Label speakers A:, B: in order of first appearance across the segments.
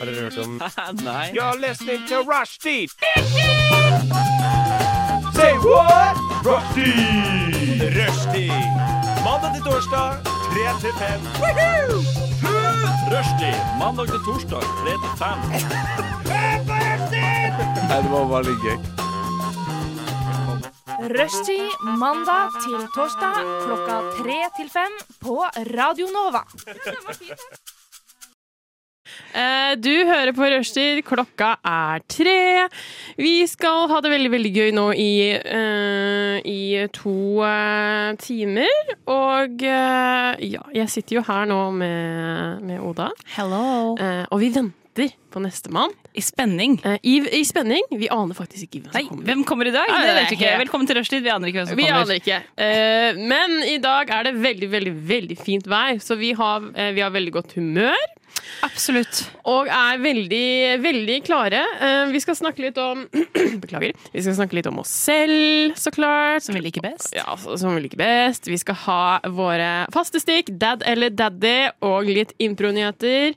A: Har dere hørt om
B: Nei.
C: You're listening to Rushdie. Say what? Rushdie. Rushdie. Mandag til torsdag, 3 til 5. Rushdie. Mandag til torsdag, 3 til 5.
B: Nei, det var bare litt gøy.
D: Rushtid mandag til torsdag klokka tre til fem på Radio Nova.
E: Eh, Du hører på Rushtid. Klokka er tre. Vi skal ha det veldig veldig gøy nå i, eh, i to eh, timer. Og eh, ja, jeg sitter jo her nå med, med Oda,
F: Hello.
E: eh, og vi venter på nestemann.
F: I spenning.
E: Eh, I, I spenning. Vi aner faktisk ikke hvem
F: Nei,
E: som kommer.
F: hvem kommer i dag?
E: Nei,
F: det
E: det
F: vet
E: er
F: vi ikke.
E: helt-
F: Velkommen til rushtid. Vi aner ikke hvem som
E: Vi
F: kommer.
E: aner ikke. Eh, men i dag er det veldig, veldig veldig fint vær, så vi har, eh, vi har veldig godt humør.
F: Absolutt.
E: Og er veldig, veldig klare. Eh, vi skal snakke litt om Beklager. Vi skal snakke litt om oss selv, så klart.
F: Som vi liker best.
E: Ja, så- som vi liker best. Vi skal ha våre faste stikk, dad eller daddy, og litt impronyheter.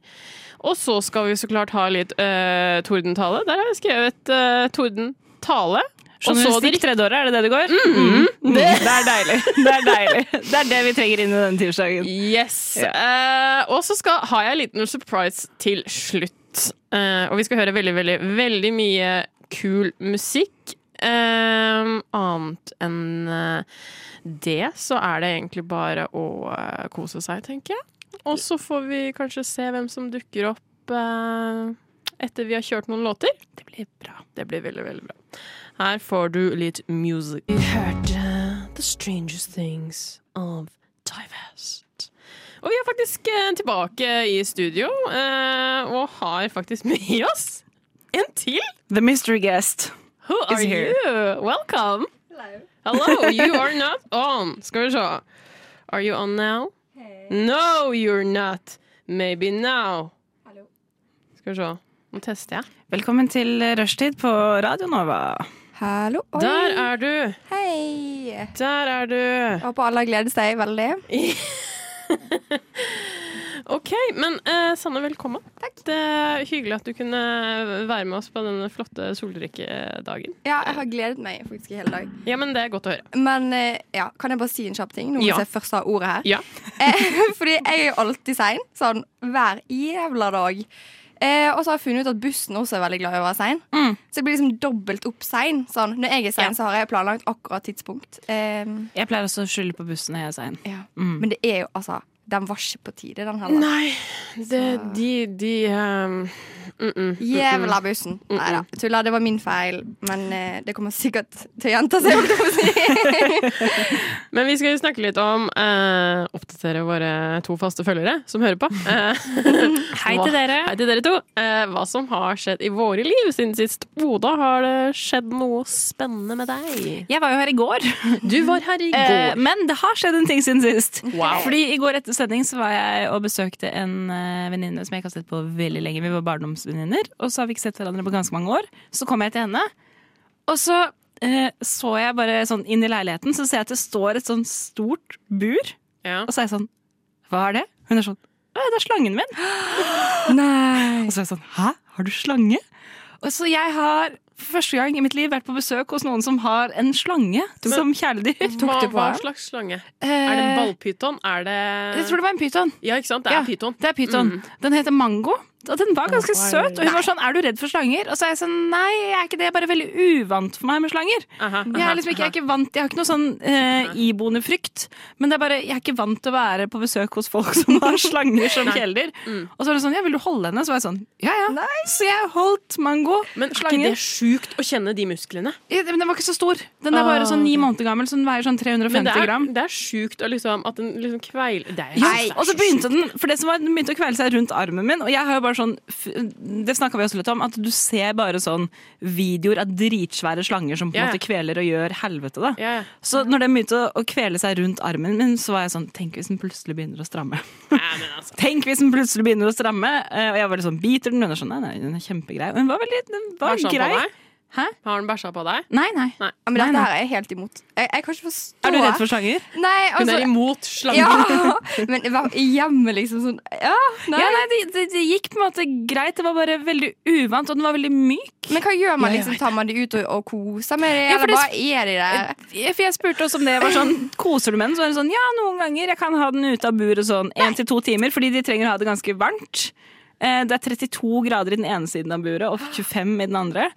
E: Og så skal vi så klart ha litt eh, tordentale. Der har jeg skrevet eh, tordentale. Og så Mm-hmm. de
F: Journalistikk tredje året, er det det det går? Mm. Det. er deilig. Det er deilig. Det er det vi trenger inn i denne tirsdagen.
E: Yes. Eh, og så skal, har jeg en liten surprise til slutt. Eh, og vi skal høre veldig, veldig, veldig mye kul musikk. Eh, annet enn eh, det så er det egentlig bare å eh, kose seg, tenker jeg. Og så får vi kanskje se hvem som dukker opp eh, etter vi har kjørt noen låter. Det blir bra. Det blir veldig, veldig bra. Her får du litt music. Vi hørte The Strangest Things av Divest. Og vi er faktisk eh, tilbake i studio, eh, og har faktisk med oss en til.
F: The mystery guest.
E: Who are
F: Is here.
E: you? Welcome. Hello. Hello, you are not on. Skal vi se. Are you on now? No, you're not. Maybe now. Skal vi se. Nå tester jeg.
F: Velkommen til rushtid på Radio Nova.
G: Hallo. Oi.
E: Der er du.
G: Hei.
E: Der er du.
G: Håper alle gleder seg veldig.
E: Ok, men eh, Sanne, velkommen. Takk. Det er hyggelig at du kunne være med oss på denne flotte solrike dagen.
G: Ja, jeg har gledet meg faktisk i hele dag.
E: Ja, men det er godt å høre.
G: Men eh, ja, kan jeg bare si en kjapp ting? Nå hvis
E: Ja.
G: jeg først har ordet her.
E: Ja.
G: Eh, Fordi jeg er jo alltid sein. Sånn hver jævla dag. Eh, og så har jeg funnet ut at bussen også er veldig glad i å være sein.
E: Mm.
G: Så jeg blir liksom dobbelt opp sein. Sånn, når jeg er sein, så har jeg planlagt akkurat tidspunkt. Eh,
F: Jeg pleier også å skylde på bussen når jeg er sein.
G: ja. Men det er jo altså Den var ikke på tide, den heller.
E: Mm. Nei, det, de, de ehm, mm -mm.
G: Jævla bussen. Nei da, tuller. Det var min feil. Men eh, det kommer sikkert til å gjenta seg. holdt jeg på å si.
E: Men vi skal jo snakke litt om eh, Oppdatere våre to faste følgere som hører på. Eh,
F: Hei til dere.
E: Hei til dere to. Eh, hva som har skjedd i våre liv siden sist. Oda, har det skjedd noe spennende med deg?
F: Jeg var jo her i går.
E: Du var her i
F: Eh,
E: går.
F: men det har skjedd en ting siden sist.
E: Wow.
F: Fordi I går etter sending så var jeg og besøkte en eh, venninne som jeg ikke har sett på veldig lenge. Vi var barndomsvenninner, og så har vi ikke sett hverandre på ganske mange år. Så kom jeg til henne, og så eh, så jeg bare sånn inn i leiligheten, så ser jeg at det står et sånn stort bur,
E: Ja.
F: og så er jeg sånn Hva er det? Hun er sånn Å, det er slangen min. Og så er jeg sånn Hæ, har du slange? Og så jeg har for første gang i mitt liv vært på besøk hos noen som har en slange som kjæledyr.
E: Hva,
G: du på
E: hva
G: den?
E: slags slange? Er det ballpyton? Er Eh, det
F: Eh, Jeg tror det var en pyton.
E: Ja, ikke sant? Det er
F: Ja,
E: pyton.
F: Det er pyton.
E: Mm.
F: Den heter Mango. Og den var ganske søt. Og hun var sånn, er du redd for slanger? Og så er jeg sånn, nei, jeg er ikke det. Jeg er bare veldig uvant for meg med slanger.
E: Aha,
F: Jeg
E: aha,
F: er liksom ikke,
E: aha.
F: jeg er ikke vant, jeg har ikke noe sånn eh, iboende frykt. Men det er bare, jeg er ikke vant til å være på besøk hos folk som har slanger som kjæledyr.
E: Mm.
F: Og så er det sånn, ja, vil du holde henne? Så var jeg sånn, ja, ja. Så jeg holdt Mango,
E: Men er ikke
F: slangen.
E: det sjukt å kjenne de musklene?
F: Ja, Men den var ikke så stor. Den er
E: Ah,
F: bare sånn ni måneder gammel, så den veier sånn
E: Men
F: 350
E: det er,
F: gram.
E: det er sjukt å liksom, at den liksom kveiler det er,
F: Jo,
E: det er
F: og så begynte den For det som var, den begynte å kvele seg rundt armen min. Og jeg har jo bare sånn f- Det snakka vi også litt om, at du ser bare sånn videoer av dritsvære slanger som på en
E: Ja, ja.
F: måte kveler og gjør helvete, da.
E: Ja, ja.
F: Så når den begynte å, å kvele seg rundt armen min, så var jeg sånn Tenk hvis den plutselig begynner å stramme.
E: Nei, men altså.
F: Tenk hvis den plutselig begynner å stramme. Eh, Og jeg var litt sånn Biter den? Hun er sånn Nei, nei, den er kjempegrei. Og hun var veldig den var
E: Var sånn på
F: grei.
E: deg?
F: Hæ?
E: Har han bæsja på deg?
F: Nei, nei.
E: Nei.
G: Ja, men
F: Nei,
G: dette
F: nei.
G: her er jeg helt imot. Jeg, jeg kan ikke forstå
F: Er du redd for slanger?
G: Nei,
E: Hun
G: altså
E: er imot slanger.
G: ja, Men hva- hjemme, liksom sånn Ja, nei.
F: Ja, nei, det, det, det gikk på en måte greit. Det var bare veldig uvant, og den var veldig myk.
G: Men hva gjør man?
E: Ja, ja,
G: liksom? Tar man de ut og, og koser med de,
F: Ja,
G: eller
F: for det
G: bare er de der?
F: Jeg- For jeg spurte også om det var sånn Koser du med den? Så var det sånn, ja, noen ganger. Jeg kan ha den ute av buret sånn én til to timer, fordi de trenger å ha det ganske varmt. Eh, Det er 32 grader i den ene siden av buret og 25 i den andre.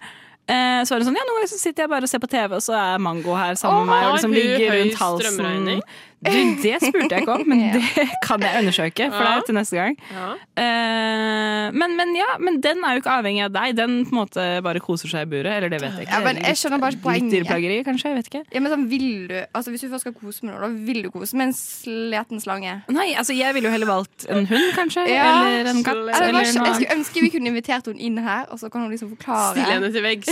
F: Eh, Så var det sånn, ja, noen ganger så sitter jeg bare og ser på TV, og så er Mango her sammen med meg. Og
E: Har
F: liksom
E: hun
F: ligger
E: høy
F: rundt halsen.
E: strømregning?
F: Du, det spurte jeg ikke om, men det kan jeg undersøke, for det er til neste gang.
E: Ja.
F: Eh, men, men ja, men den er jo ikke avhengig av deg. Den på en måte bare koser seg i buret. Eller det vet jeg ikke.
G: Ja, men jeg skjønner bare ikke
F: Litt
G: poenget.
F: dyreplageri, kanskje. Jeg vet ikke.
G: Ja, men sånn, vil du, altså Hvis du først skal kose med noe, da vil du kose med en sliten slange.
F: Nei, altså jeg ville jo heller valgt en hund, kanskje.
G: Ja,
F: eller en katt.
E: så-
G: Eller,
F: Eller
G: bare,
F: noe
G: jeg
F: annet.
G: skulle ønske vi kunne invitert henne inn her, og så kan hun liksom forklare.
E: Stille henne til veggs.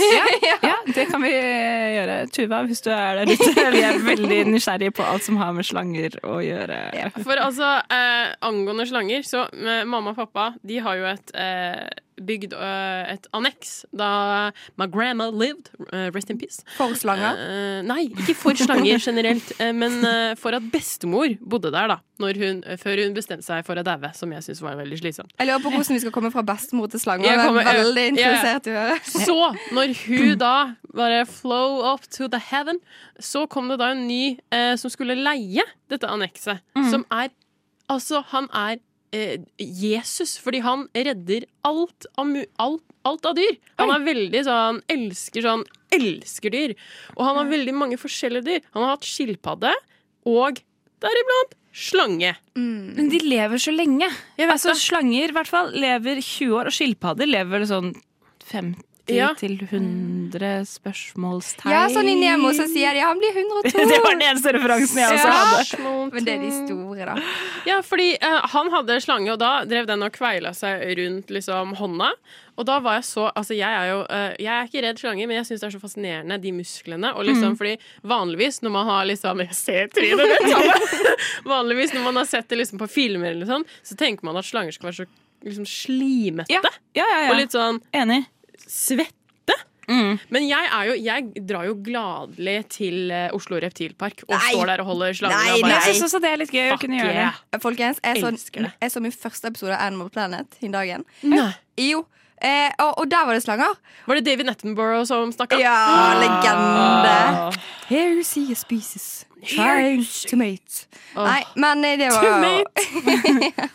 F: Ja, det kan vi eh, gjøre. Tuva, hvis du er der ute. Vi er veldig nysgjerrige på alt som har med slanger å gjøre.
E: For altså, eh, angående slanger, så eh, mamma og pappa, de har jo et eh, bygd eh, et anneks da my grandma lived, eh, rest in peace.
G: For slanger.
E: Eh, nei, ikke for slanger generelt, eh, men eh, for at bestemor bodde der, da. Når hun, før hun bestemte seg for å daue, som jeg syns var veldig slitsomt.
G: Jeg lurer på hvordan vi skal komme fra bestemor til slanger.
E: Jeg
G: Jeg
E: kommer-
G: er veldig
E: jeg-
G: interessert i å høre.
E: Så, når hun da bare flow up to the heaven, så kom det da en ny eh, som skulle leie dette annekset. Som er Altså, han er eh, Jesus, fordi han redder alt av, mu alt, alt av dyr. Han er veldig sånn Elsker sånn Elsker dyr. Og han har veldig mange forskjellige dyr. Han har hatt skilpadde og deriblant slange.
G: Mm.
F: Men de lever så lenge. altså,
E: det.
F: slanger i hvert fall lever 20 år, og skilpadder lever vel sånn 50
E: Ja.
F: til 100 spørsmålstegn.
G: Ja, sånn i Nemo så sier de ja, han blir 102.
F: Det var den eneste referansen
E: Altså,
F: jeg også
G: Ja.
F: hadde.
G: Men det er de store, da.
E: Ja, fordi eh, han hadde slange, og da drev den og kveila seg rundt liksom, hånda. Og da var jeg så Altså, jeg er jo eh, Jeg er ikke redd slanger, men jeg syns det er så fascinerende, de musklene. Og
F: Mm.
E: liksom, fordi vanligvis når man har liksom Jeg ser trynet ditt! Sanne. vanligvis når man har sett det liksom på filmer eller sånn, så tenker man at slanger skal være så liksom slimete.
F: Ja, ja, ja, Mm. ja.
E: Og litt sånn
F: Enig.
E: svette. Men jeg, er jo, jeg drar jo gladelig til eh, Oslo Reptilpark og
G: Nei.
E: står der og holder
G: Nei,
E: slanger. og
G: nei.
F: Jeg syns også det er litt gøy å
E: Fuck
F: kunne gjøre det.
E: yeah.
G: Folkens, jeg
E: Elsker
G: så,
E: det.
G: jeg så min første episode av Animal Planet den dagen.
E: Nei.
G: Jo, eh, og, og der var det slanger.
E: Var det David Nettenborough som snakka?
G: Ja, legende.
E: Ah.
G: Here you see a species.
E: Here you
G: Tries to mate.
E: Åh.
G: Nei, men eh, det var
E: To mate.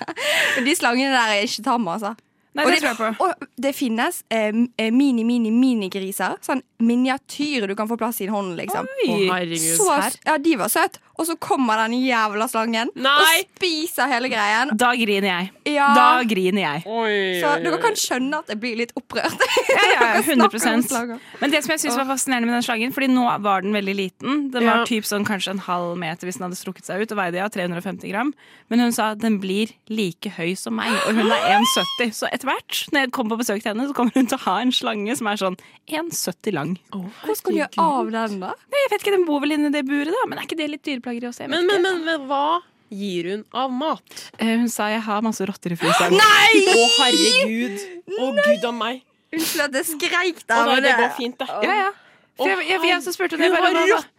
G: Men De slangene der er ikke tamme, altså.
F: Nei,
G: Og
F: det tror jeg på.
G: og det finnes eh, mini-mini-minigriser. Sånn miniatyrer du kan få plass i en hånd, liksom.
E: Å,
F: Oi.
E: herregud.
G: Så, ja, de var søte. Og så kommer den jævla slangen
E: Nei.
G: og spiser hele greien.
F: Da griner jeg.
G: Ja.
F: Da griner jeg.
E: Oi,
G: Så
E: oi,
G: dere
E: oi.
G: kan skjønne at jeg blir litt opprørt.
F: Ja, ja,
G: Dere snakker om
F: 100
G: slanger.
F: Men det som jeg synes var fascinerende med den slangen, Fordi nå var den veldig liten. Den var
E: Ja.
F: typ sånn kanskje en halv meter hvis den hadde strukket seg ut, og veide ja, 350 gram. Men hun sa den blir like høy som meg, og hun er 1,70. Så etter hvert, når jeg kommer på besøk til henne, så kommer hun til å ha en slange som er sånn 1,70 lang.
G: Hvordan skal du gjøre av den, da?
F: Nei, jeg vet ikke, den bor vel inni det buret, da, men er ikke det litt dyreplageri også? Jeg vet
E: men, men, men,
F: ikke.
E: men hva gir hun av mat?
F: Eh, Hun sa jeg har masse rotter i fryseren.
E: Å, herregud. Å, gud av meg.
G: Unnskyld at jeg skreik
E: Å,
G: der.
E: nei,
G: men
E: det går
G: det-
E: fint, det.
F: Ja, ja. For jeg, jeg, jeg, jeg, så spurte hun jeg
E: Hun
F: bare,
E: har
F: hva da?
E: rotter!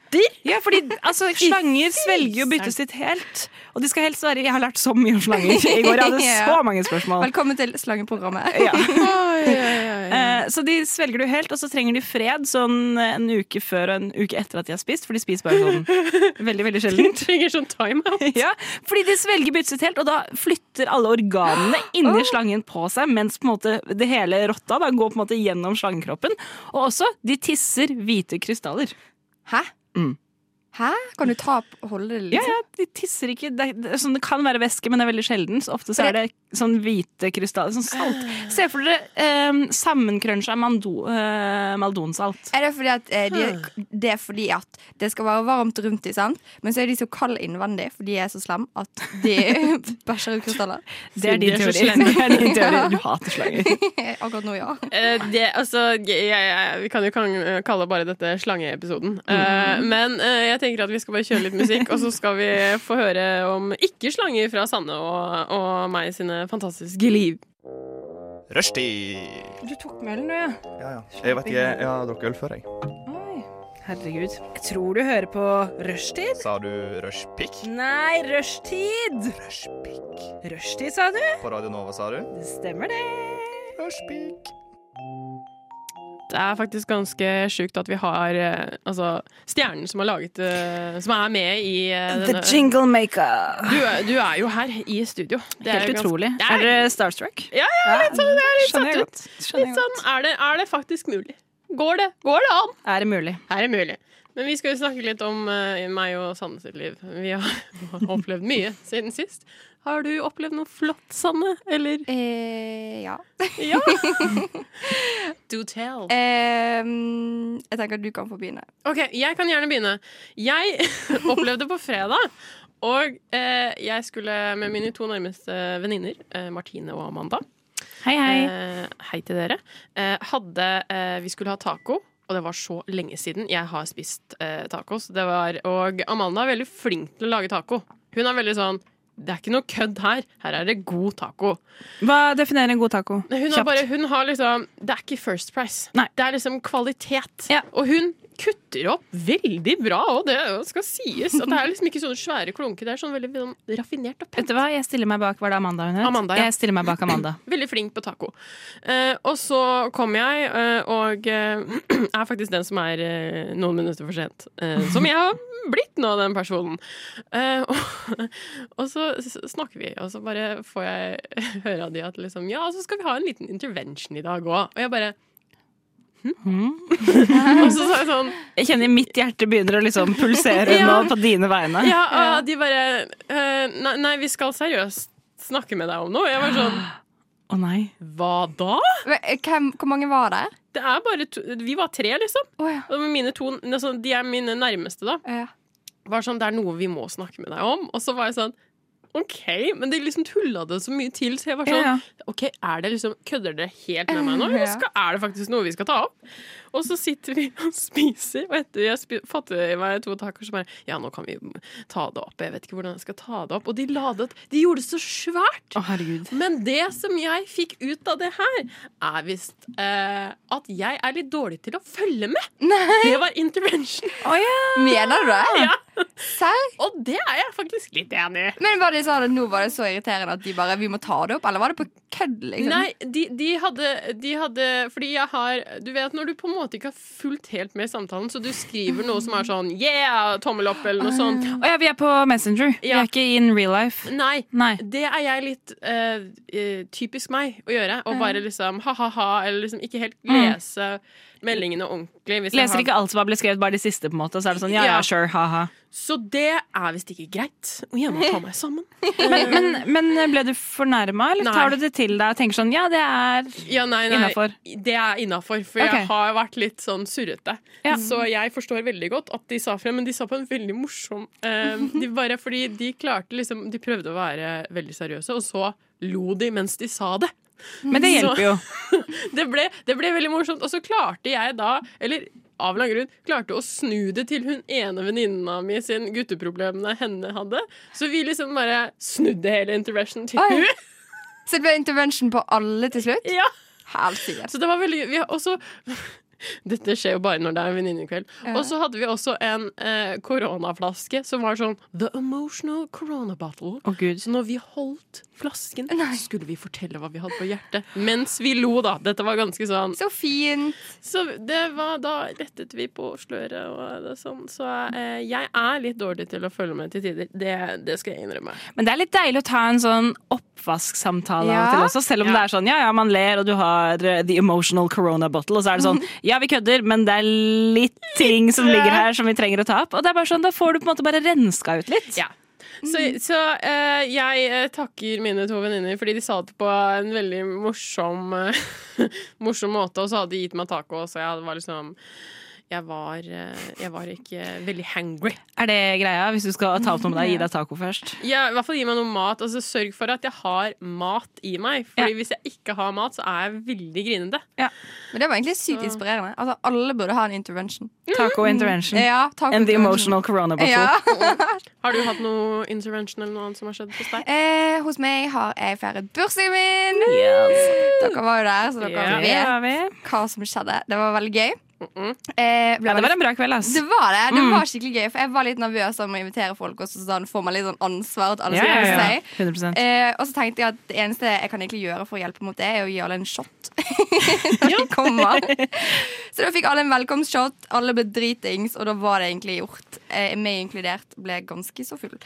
F: Ja, fordi altså, slanger svelger jo byttet sitt helt. Og de skal helst være Jeg har lært så mye om slanger i går. Jeg hadde så
G: Ja.
F: mange spørsmål.
G: Velkommen til slangeprogrammet.
F: Ja.
E: Oi, oi, oi.
F: Eh, Så de svelger du helt, og så trenger de fred sånn en uke før og en uke etter at de har spist. For de spiser bare sånn veldig, veldig
E: Hun
F: sjeldent.
E: trenger sånn timeout.
F: Ja, fordi de svelger byttet sitt helt, og da flytter alle organene inni slangen på seg, mens på en måte det hele rotta da, går på en måte gjennom slangekroppen. Og også, de tisser hvite krystaller.
G: Hæ?
F: Mm.
G: Hæ? Kan du ta opp og holde det?
F: Ja,
G: Liksom?
F: ja, de tisser ikke det, er- det, er sånn, det kan være væske, men det er veldig sjelden. Så ofte så er det sånn hvite krystaller. Sånn salt. Se for dere eh, sammenkrunsja mando, eh, maldonsalt.
G: Er det fordi at eh, de, det er fordi at det skal være varmt rundt dem, sant? Men så er de så kalde innvendig, for de er så slem at de bæsjer ut krystaller.
F: Det er
E: De
F: din
E: er så
F: teori.
E: slemme.
F: Det er din teori. Du hater slanger.
G: Akkurat nå, ja.
E: Eh, det, altså, jeg, jeg, vi kan jo kan- kalle bare dette slangeepisoden. Eh, men eh, jeg tenker at vi skal bare kjøre litt musikk, og så skal vi få høre om ikke-slanger fra Sanne og, og meg sine fantastiske liv.
C: Rushtid!
F: Du tok med ølen, du, ja.
A: Ja, ja. Jeg vet ikke, jeg, jeg har drukket øl før, jeg.
F: Oi. Herregud. Jeg tror du hører på rushtid.
A: Sa du rushpick?
F: Nei, rushtid!
A: Rushpick.
F: Rushtid, sa du?
A: På Radio Nova, sa du?
F: Det stemmer, det.
A: Rushpick.
E: Det er faktisk ganske sjukt at vi har eh, altså, stjernen som har laget eh, Som er med i eh, denne
F: jingle maker.
E: du, er- du er jo her i studio. Det er jo
F: Helt
E: ganske-
F: utrolig.
E: Det er-
F: Er dere starstruck?
E: Ja, ja, jeg vet sånn, det er litt
F: Skjønner jeg
E: satt ut.
F: godt.
E: Litt
F: Skjønner jeg
E: sånn,
F: godt.
E: er det, er det faktisk mulig? Går det? Går det an?
F: Er det mulig?
E: Er det mulig? Men vi skal jo snakke litt om eh, meg og Sanne sitt liv. Vi har opplevd mye siden sist. Har du opplevd noe flott, Sanne? Eller?
G: Eh, ja.
E: Ja! Do tell.
G: Eh, jeg tenker at du kan få begynne.
E: Ok, jeg kan gjerne begynne. Jeg opplevde på fredag, og eh, jeg skulle med mine to nærmeste venninner, eh, Martine og Amanda,
F: Hei, hei.
E: Eh, hei til dere. Eh, hadde, eh, vi skulle ha taco, og det var så lenge siden jeg har spist eh, tacos. Det var, og Amanda er veldig flink til å lage taco. Hun er veldig sånn det er ikke noe kødd her. Her er det god taco.
F: Hva definerer en god taco?
E: Hun har, bare, hun har liksom Det er ikke First Price.
F: Nei.
E: Det er liksom kvalitet.
F: Ja.
E: Og hun kutter opp veldig bra, og det skal sies. At det er liksom ikke sånne svære klunker. Det er sånn veldig sånn, raffinert og pent.
F: Vet du hva, jeg stiller meg bak Var det Amanda hun het?
E: Amanda, ja.
F: Jeg stiller meg bak Amanda.
E: Veldig flink på taco. Eh, og så kom jeg, eh, og eh, er faktisk den som er eh, noen minutter for sent. Eh, som jeg har blitt nå, den personen. Eh, og, og så s- snakker vi, og så bare får jeg høre av de at liksom Ja, så skal vi ha en liten intervention i dag òg. Og jeg bare
F: Mm.
E: hm? Og så sa jeg sånn
F: Jeg kjenner mitt hjerte begynner å liksom pulsere nå
E: Ja.
F: på dine vegne.
E: Ja, og de bare eh, nei, nei, vi skal seriøst snakke med deg om noe. Og jeg var sånn
F: Å nei.
E: Hva da?
G: Men, eh, Hvem, hvor mange var der?
E: Det er bare to, vi var tre, liksom.
G: Å ja.
E: Og mine to, altså, de er mine nærmeste, da.
G: ja.
E: Var sånn, det er noe vi må snakke med deg om. Og så var jeg sånn OK, men de liksom tulla det så mye til, så jeg var sånn
F: Ja, ja.
E: OK, er det liksom Kødder dere helt med meg nå, eller
G: Ja.
E: skal, er det faktisk noe vi skal ta opp? Og så sitter vi og spiser, og etter jeg spi, fatter jeg meg to tacoer, så bare Ja, nå kan vi ta det opp. Jeg vet ikke hvordan jeg skal ta det opp. Og de ladet De gjorde det så svært!
F: Å herregud.
E: Men det som jeg fikk ut av det her, er visst eh, at jeg er litt dårlig til å følge med. Det var intervention.
G: Mener du det? Serr?
E: Og det er jeg faktisk litt enig i.
G: Men var det sånn at nå var det så irriterende at de bare Vi må ta det opp, eller var det på kødd? Liksom?
E: Nei, de, de, hadde, de hadde Fordi jeg har Du vet når du på en måte ikke har fulgt helt med i samtalen, så du skriver noe som er sånn Yeah! Tommel opp, eller noe sånt.
F: Å ja, vi er på Messenger. Vi
E: Ja.
F: er ikke in real life.
E: Nei.
F: Nei.
E: Det er jeg litt eh, eh, typisk meg å gjøre. Å bare liksom ha-ha-ha, eller liksom ikke helt lese meldingene ordentlig. hvis jeg har-
F: Leser ikke alt som har blitt skrevet, bare de siste, på en måte. Så er det sånn, ja, ja,
E: Ja.
F: sure, ha-ha.
E: Så det er visst ikke greit. Og jeg må ta meg sammen.
F: Men, men, men eh, ble du fornærma, eller
E: Nei.
F: tar du det til deg og tenker sånn, ja, det er
E: Ja, nei, nei.
F: Innenfor.
E: Det er innafor, for
F: Ok.
E: jeg har vært litt sånn surrete.
F: Ja.
E: Så jeg forstår veldig godt at de sa fra, men de sa på en veldig morsom eh, de Bare fordi de klarte liksom De prøvde å være veldig seriøse, og så lo de mens de sa det.
F: Men det hjelper jo.
E: Det ble, det ble veldig morsomt. Og så klarte jeg da, eller av en eller annen grunn, klarte å snu det til hun ene venninna mi sin gutteproblemene henne hadde. Så vi liksom bare snudde hele intervention til
G: Oi.
E: hun.
G: Så det ble intervention på alle til slutt?
E: Ja.
G: Helsike.
E: Så det var veldig vi har også, Dette skjer jo bare når det er venninnekveld. Og så hadde vi også en eh, koronaflaske som var sånn The Emotional Corona Bottle.
F: Å gud.
E: Så når vi holdt flasken, skulle vi fortelle hva vi hadde på hjertet. Mens vi lo, da. Dette var ganske sånn
G: Så fint.
E: Så det var, da rettet vi på sløret og det sånn. Så eh, jeg er litt dårlig til å følge med til tider. Det, det skal jeg innrømme.
F: Men det er litt deilig å ta en sånn oppvasksamtale
G: Ja.
F: av og til også, selv om
E: Ja.
F: det er sånn ja, ja, man ler, og du har eh, the emotional corona bottle, og så er det sånn ja, vi kødder, men det er litt ting som ligger her som vi trenger å ta opp. Og det er bare sånn, da får du på en måte bare renska ut litt.
E: Ja. Så,
G: Mm.
E: så eh, jeg eh, takker mine to venninner fordi de sa det på en veldig morsom, eh, morsom måte, og så hadde de gitt meg taco, så jeg var liksom jeg var, eh, jeg var ikke veldig hangry.
F: Er det greia? Hvis du skal ta opp noe med deg, gi deg taco først.
E: Ja, i hvert fall gi meg noe mat. Altså, sørg for at jeg har mat i meg. Fordi hvis jeg ikke har mat, så er jeg veldig grinete.
G: Men det var egentlig sykt inspirerende. Altså, alle burde ha en intervention.
F: Mm. Taco intervention.
G: Ja, takk for
F: And the
G: intervention.
F: emotional corona bottle.
G: Ja.
E: Har du hatt noe intervention eller noe annet som har skjedd hos deg?
G: Eh, hos meg har jeg feiret bursdagen min. Dere var jo der, så dere
E: Ja.
F: Det
G: vet
F: har vi.
G: hva som skjedde. Det var veldig gøy. Eh, ble
F: Ja, det
G: veldig
F: Mm. var en bra kveld, ass.
G: Det var det. Det var skikkelig gøy, for jeg var litt nervøs om å invitere folk, og så sånn, får man litt sånn ansvar at alle
F: Ja,
G: skal
F: ja,
G: hjelpe
F: ja.
G: seg.
F: 100
G: Eh, og så tenkte jeg at det eneste jeg kan egentlig gjøre for å hjelpe mot det, er å gi alle en shot. Når de kommer. Så da fikk alle en velkomstshot, alle ble dritings, og da var det egentlig gjort. Eh, meg inkludert ble ganske så full.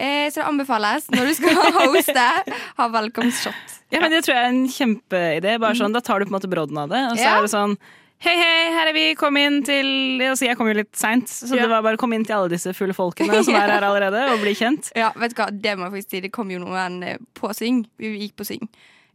G: Eh, så det anbefales, når du skal hoste, ha velkomstshot.
F: Ja, men Det tror jeg er en kjempeidé. Bare sånn, Da tar du på en måte brodden av det, og så
G: Ja.
F: er det sånn Hei, hei, her er vi! Kom inn til altså, Jeg kom jo litt seint, så
E: Ja.
F: det var bare å komme inn til alle disse fulle folkene som er her allerede, og bli kjent.
G: Ja, vet du hva, det må jeg faktisk si. Det kom jo noen eh, på syng. Vi gikk på syng.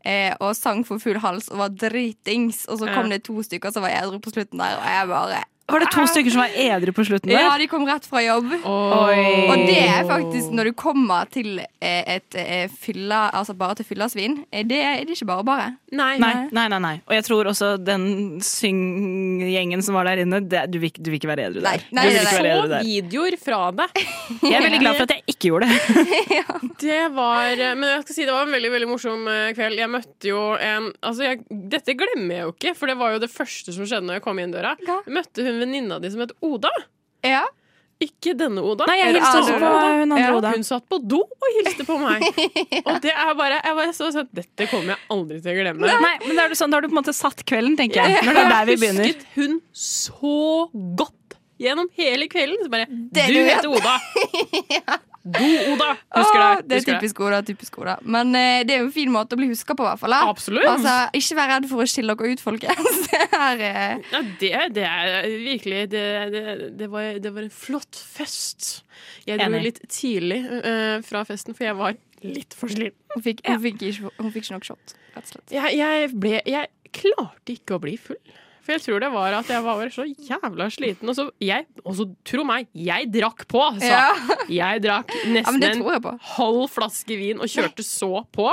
G: Eh, og sang for full hals og var dritings. Og så kom
E: Ja.
G: det to stykker som var edru på slutten der, og jeg bare
F: Var det to stykker som var edru på slutten der?
G: Ja, de kom rett fra jobb.
F: Oi.
G: Og det er faktisk, når du kommer til eh, et eh, fylla, altså bare til fyllasvin, eh, det er det er ikke bare bare.
E: Nei.
F: Nei, nei, nei, nei. Og jeg tror også den synggjengen som var der inne, det, du, vil, ikke- du vil ikke være edru
G: Nei,
F: der.
G: nei,
F: du vil
G: nei,
F: ikke
G: nei.
E: Få
F: være edru der.
E: videoer fra deg.
F: Jeg er veldig glad for at jeg ikke gjorde det.
E: Det var eh, Men jeg skal si det var en veldig veldig morsom eh, kveld. Jeg møtte jo en altså jeg, Dette glemmer jeg jo ikke, for det var jo det første som skjedde når jeg kom inn døra.
G: Hva?
E: Jeg møtte hun venninna di som het Oda.
G: Ja.
E: Ikke denne Oda.
F: Nei, jeg
G: Er det
F: hilste også
G: andre
F: på
E: Oda?
F: hun andre
G: Ja.
F: Oda.
E: Hun satt på do og hilste på meg. Og det er bare Jeg bare så sånn Dette kommer jeg aldri til å glemme.
F: Nei, men da er det sånn, da har du på en måte satt kvelden, tenker jeg. Når det er der vi begynner.
E: husket hun så godt gjennom hele kvelden. Så bare
G: Det
E: Du
G: du
E: heter Oda! God Oda! Husker deg.
G: Åh, Det er
E: Husker deg.
G: typisk Oda, typisk Oda. Men eh, det er jo en fin måte å bli huska på, i hvert fall. da.
E: Absolutt.
G: Altså, ikke vær redd for å skille dere ut, folkens. Det er eh,
E: Ja, det, det er virkelig det, det, det, var, det var en flott fest. Jeg dro
F: Enig.
E: litt tidlig eh, fra festen, for jeg var litt for sliten.
G: Hun fikk, hun fikk, ikke, hun fikk ikke nok shot, rett og slett.
E: Jeg, jeg, ble, jeg klarte ikke å bli full. For jeg tror det var at jeg var bare så jævla sliten. Og så, jeg, og så tro meg, jeg drakk på, altså.
G: Ja.
E: Jeg drakk
G: ja, men
E: nesten
G: det
E: en
G: tror jeg på.
E: halv flaske vin og kjørte så på.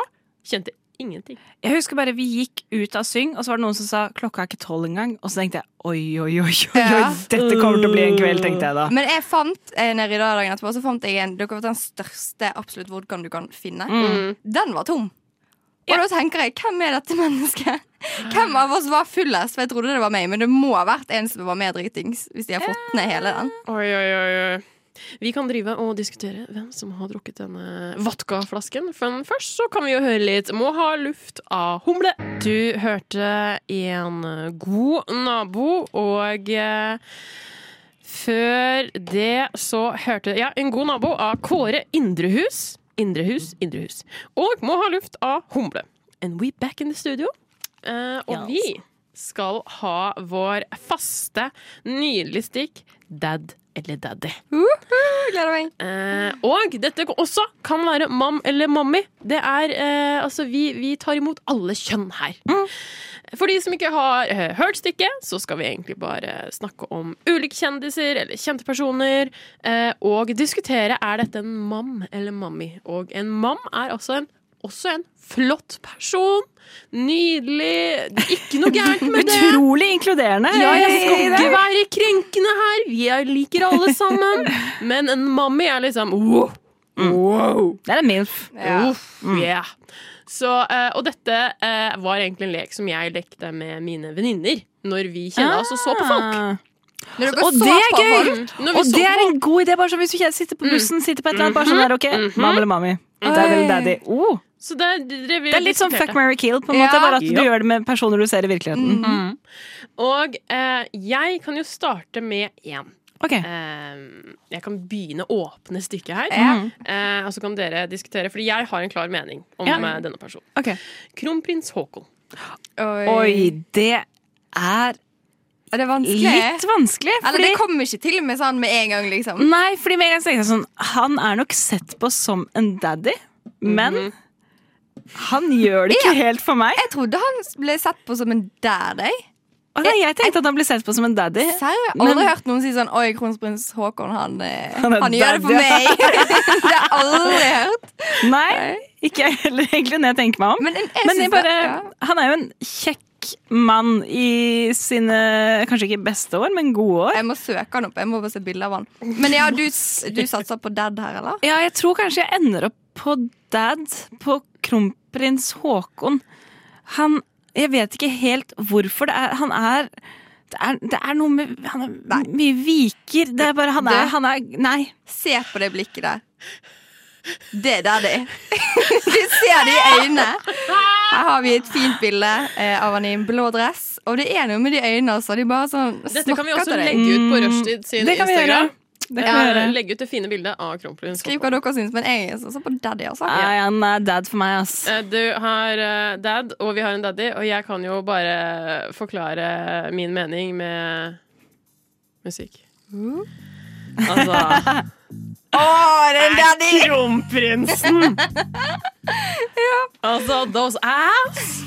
E: Kjente ingenting.
F: Jeg husker bare vi gikk ut av syng, og så var det noen som sa klokka er ikke tolv engang. Og så tenkte jeg oi, oi, oi, oi, oi,
G: Ja.
F: dette kommer til å bli en kveld, tenkte jeg da.
G: Men jeg fant eh, nede i dagen etterpå Så fant jeg en Dere vet den største absolutt vodkaen du kan finne.
E: Mm.
G: Den var tom. Og da tenker jeg, hvem er dette mennesket? Hvem av oss var fullest? For jeg trodde det var meg, men det må ha vært en som var med dritings. Hvis de har fått ned hele den.
E: Oi, oi, oi, oi. Vi kan drive og diskutere hvem som har drukket denne vodkaflasken. Men først så kan vi jo høre litt Må ha luft av humle. Du hørte en god nabo, og eh, før det så hørte Ja, en god nabo av Kåre Indrehus. Indrehus, Indrehus. Og Må ha luft av humle. And we back in the studio. Eh, og
F: Yes.
E: vi skal ha vår faste, nydelige stikk Dad eller Daddy.
G: Gleder meg.
E: Eh, og dette også kan være mam eller mammi. Det er eh, Altså, vi, vi tar imot alle kjønn her. For de som ikke har eh, hørt stykket, så skal vi egentlig bare snakke om ulike kjendiser eller kjente personer, eh, og diskutere er dette en mam eller mammi. Og en mam er altså en også en flott person. Nydelig. Ikke noe gærent med det.
F: Utrolig inkluderende.
E: Ja, jeg skal ikke være krenkende her. Vi er- liker alle sammen. Men en mammi er liksom wow.
F: Mm.
E: Wow.
F: Det er en milf.
G: Ja.
E: Uff,
F: Mm.
E: yeah. Så, eh, og dette eh, var egentlig en lek som jeg lekte med mine venninner når vi kjenner oss og så på folk. Mm.
G: Når dere
F: Og
G: så
F: det er
G: på
F: gøy!
G: folk,
E: Når vi
F: Ah. Og
E: så
F: det
E: på
F: er en god idé, bare sånn hvis du ikke sitter på bussen, sitter på et eller annet, bare sånn der, ok, mamma eller mami. Dad eller daddy. Oh.
E: Så det, det,
F: Det er litt sånn fuck, marry, kill, på en
G: Ja.
F: måte, bare at du
E: Ja.
F: gjør det med personer du ser i virkeligheten. Mm-hmm.
E: Og eh, jeg kan jo starte med én.
F: Ok,
E: Eh, jeg kan begynne å åpne stykket her,
G: Ja.
F: Mm-hmm.
E: eh, og så kan dere diskutere. Fordi jeg har en klar mening om
F: Ja.
E: eh, denne personen.
F: ok.
E: Kronprins Haakon.
G: Oi.
F: Oi, det er
G: Er det vanskelig?
F: litt vanskelig.
G: Eller det
F: Fordi, Mm.
G: kom ikke til meg sånn med en gang, liksom.
F: nei, fordi med en gang tenkte jeg sånn, han er nok sett på som en daddy, men
G: Mhm.
F: han gjør det ikke helt for meg.
G: Jeg trodde han ble sett på som en daddy.
F: Og da, jeg tenkte at han ble sett på som en daddy.
G: Serr? Jeg har aldri
F: Men-
G: hørt noen si sånn Oi, kronprins Haakon, han, eh,
F: Han er
G: han gjør det for meg.
F: daddy.
G: det har jeg aldri hørt.
F: Nei, ikke jeg heller, egentlig, når jeg tenker meg om.
G: Men jeg, jeg
F: Men
G: synes
F: jeg bare,
G: det, ja.
F: han er jo en kjekk mann i sine kanskje ikke beste år, men gode år.
G: Jeg må søke han opp. Jeg må bare se bilder av han. Men ja, du, s- du satser på dad her, eller?
F: Ja, jeg tror kanskje jeg ender opp på dad på kronprins Haakon. Han Jeg vet ikke helt hvorfor. Det er, han er det er, det er noe med Han er
G: Nei.
F: mye viker. Det er bare Han er,
G: Det-
F: han er Nei.
G: Se på det blikket der. Det er daddy. du ser det i øynene. Her har vi et fint bilde eh, av han i en blå dress. Og det er noe med de øynene, altså. De bare sånn
E: Dette kan vi
G: snakker
E: også
G: til deg.
E: legge ut på Rushtid sin
F: Mm. Det kan vi
E: Instagram.
F: gjøre. Det kan vi
E: Ja,
F: gjøre.
E: legge Eh, ut det fine bildet av kronprins.
G: Skriv hva dere syns, men jeg satser på daddy, altså.
F: Nei, han er dad for meg, ass.
E: Eh, Du har eh, dad, og vi har en daddy, og jeg kan jo bare forklare min mening med musikk.
F: Mm.
E: Altså Kronprinsen! Altså, those ass!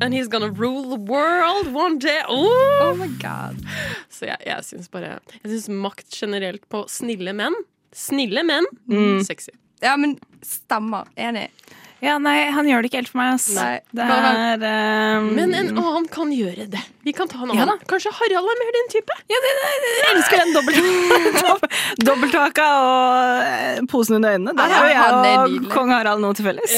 E: And he's gonna rule the world one day! Oh!
G: Oh my god.
E: Så jeg, jeg syns bare Jeg syns makt generelt på snille menn. Snille menn.
F: Mm.
E: Sexy.
G: Ja, men stemmer. Enig.
F: Ja, nei, han gjør det ikke helt for meg, ass.
G: Nei,
F: det
G: bare-
F: er ehm,
E: Men en annen kan gjøre det. Vi kan ta en annen. Kanskje Harald er mer din type?
F: ja, det, det, det, Jeg elsker den dobbelt- dob- dobbelthaka og eh, posen under øynene. Der
G: Ja,
F: har jo
G: han er
F: jeg og
G: nydelig.
F: kong Harald noe til felles.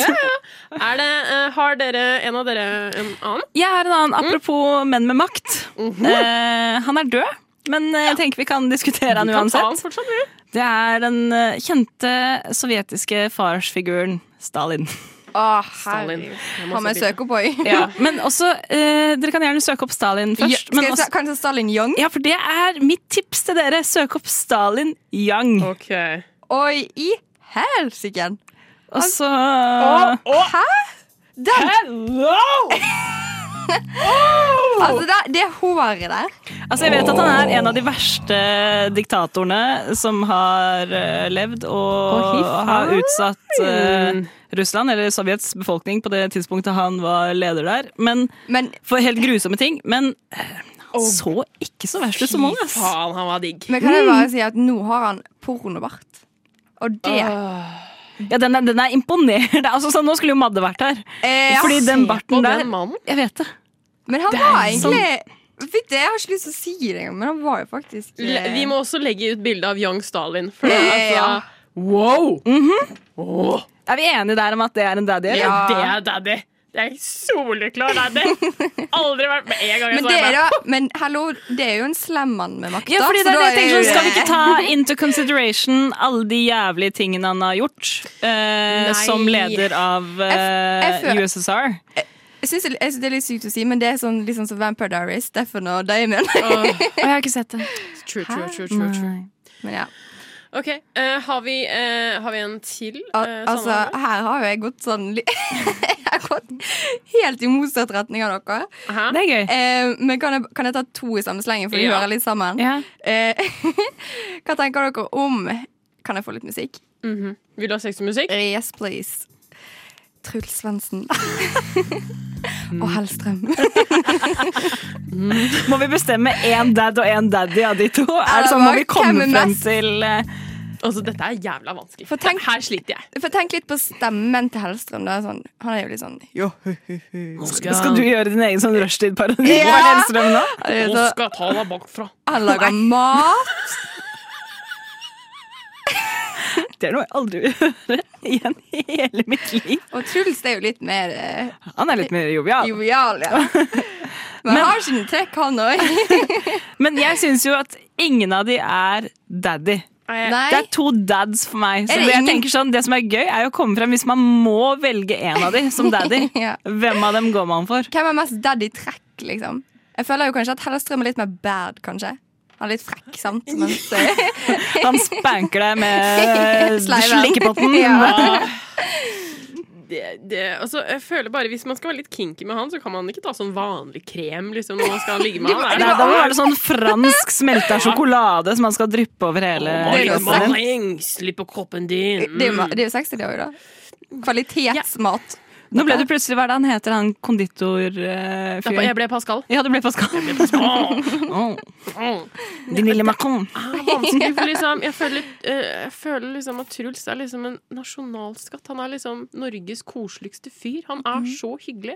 E: Er det, eh, har dere en av dere en annen?
F: Jeg har en annen,
G: Mm.
F: apropos menn med makt.
G: Mhm.
F: Eh, han er død, men eh, jeg tenker vi kan diskutere han
E: Vi kan ta han
F: uansett.
E: fortsatt, vi.
F: Det er den eh, kjente sovjetiske farsfiguren Stalin.
G: Å,
E: Stalin.
G: herregud.
E: Jeg må
G: Han må jeg
E: også
G: søke opp òg.
F: Men også, eh, dere kan gjerne søke opp Stalin først.
G: Skal
F: men
G: jeg
E: altså-
F: også,
G: se- Kanskje Stalin Young?
F: Ja, for det er mitt tips til dere. Søk opp Stalin Yang.
E: bytte. Ok.
G: Oi, i helsike!
F: Og så
G: Den- Altså, det, det håret der
F: Altså, jeg vet at han er en av de verste diktatorene som har eh, levd og,
E: Å, fy faen.
F: har utsatt eh, Russland, eller Sovjets befolkning, på det tidspunktet han var leder der. Men
G: Men,
F: For helt grusomme ting. Men eh, han så ikke så verst ut som han, ass.
E: Faen, han var digg.
G: men kan jeg bare si at nå har han pornobart. Og det
F: Ja, den, er- den er imponerende. Altså, sånn, nå skulle jo Madde vært her.
G: eh, ja.
F: Fordi den barten
E: På
F: der
E: den mannen.
F: Jeg vet det. sånn-
G: Men han var egentlig Vet du, Jeg har ikke lyst til å si det engang, men han var jo faktisk
E: Le,
G: eh,
E: vi må også legge ut bilde av Young Stalin. For det, er
G: Eh,
E: altså,
G: ja.
E: Wow! Åh,
F: Er vi enige der om at det er en daddy? eller?
E: ja. Det er daddy. Det er soleklar daddy. Aldri vært med en gang jeg
G: men,
E: så
G: det
E: henne.
G: er da, men hallo, det er jo en slem mann med makt.
F: Ja,
G: da,
F: fordi
G: så
F: det er det
G: da
F: jeg tenker
G: jo
F: sånn, Skal vi
G: det-
F: ikke ta into consideration alle de jævlige tingene han har gjort
E: Nei.
F: eh, som leder av eh,
G: Jeg f- jeg føler-
F: USSR?
G: Jeg syns jeg syns det er litt sykt å si, men det er sånn, litt sånn som Vampire Diaries. Stefan og Damon.
F: jeg har ikke sett det.
E: True, true, true, true, true.
G: men ja.
E: Ok, eh, har, vi, eh, har vi en til? eh,
G: Al altså,
E: sammenheng?
G: her har jo jeg gått sånn li- Jeg har gått helt i motsatt retning av dere.
E: Hæ?
F: Det er gøy.
G: Eh, men kan jeg, kan jeg ta to i samme slengen, for de
E: Ja.
G: hører litt sammen?
F: Ja.
G: Eh, hva tenker dere om Kan jeg få litt musikk?
E: Mhm. Vil du ha sex og musikk?
G: Eh, Yes, please. Truls Svendsen. Og Hellstrøm.
F: Må vi bestemme én dad og én daddy av de to? Er det sånn, må vi
G: Hvem
F: komme
G: er
F: frem
G: mest?
F: til eh,
E: Altså, dette er jævla vanskelig.
G: For
E: Det
G: tenk-
E: Her sliter jeg.
G: For tenk litt på stemmen til Hellstrøm. Da. Sånn, han er jo litt sånn Jo,
F: Skal du gjøre din egen sånn rushtid-parodi
G: Ja!
F: på Hellstrøm nå?
G: han, er Eh, så,
E: skal ta deg bakfra.
G: han lager mat.
F: Det er noe jeg aldri vil høre igjen i hele mitt liv.
G: Og Truls er jo litt mer eh,
F: Han er litt mer jovial.
G: jovial, ja. Men, han har sine trekk, han òg.
F: Men jeg syns jo at ingen av de er daddy.
E: Eh,
G: Nei.
F: Det er to dads for meg. Så
G: Er det
F: det, jeg
G: ingen-
F: tenker sånn, det som er gøy, er jo å komme frem hvis man må velge en av de som daddy.
G: Ja.
F: Hvem av dem går man for?
G: Hvem er mest daddy trekk, liksom? Jeg føler jo kanskje at Hellstrøm er litt mer bad, kanskje. Han er litt frekk, sant? Mens, eh,
F: Han spanker deg med
G: Sleiven.
F: slikkepotten.
G: Ja.
E: Det, det, altså, jeg føler bare Hvis man skal være litt kinky med han, så kan man ikke ta sånn vanlig krem liksom, når man skal ligge med han.
F: Nei, da må det være sånn fransk smelta sjokolade som man skal dryppe over hele
G: det er liksom- jo
F: kroppen din.
E: engstelig på kroppen din.
G: det, er jo, ma- det er jo sexy, det òg, da. Kvalitetsmat.
F: Nå ble du plutselig, hva er det han heter, han eh, konditorfyren?
E: Mm. Jeg ble Pascal.
F: ja, det ble Pascal. Åh,
E: Mm.
F: Din lille Macron.
E: er ah, vanskelig, for liksom, jeg føler, eh, jeg føler liksom at Truls er liksom en nasjonalskatt. Han er liksom Norges koseligste fyr. Han er
G: Mhm.
E: så hyggelig.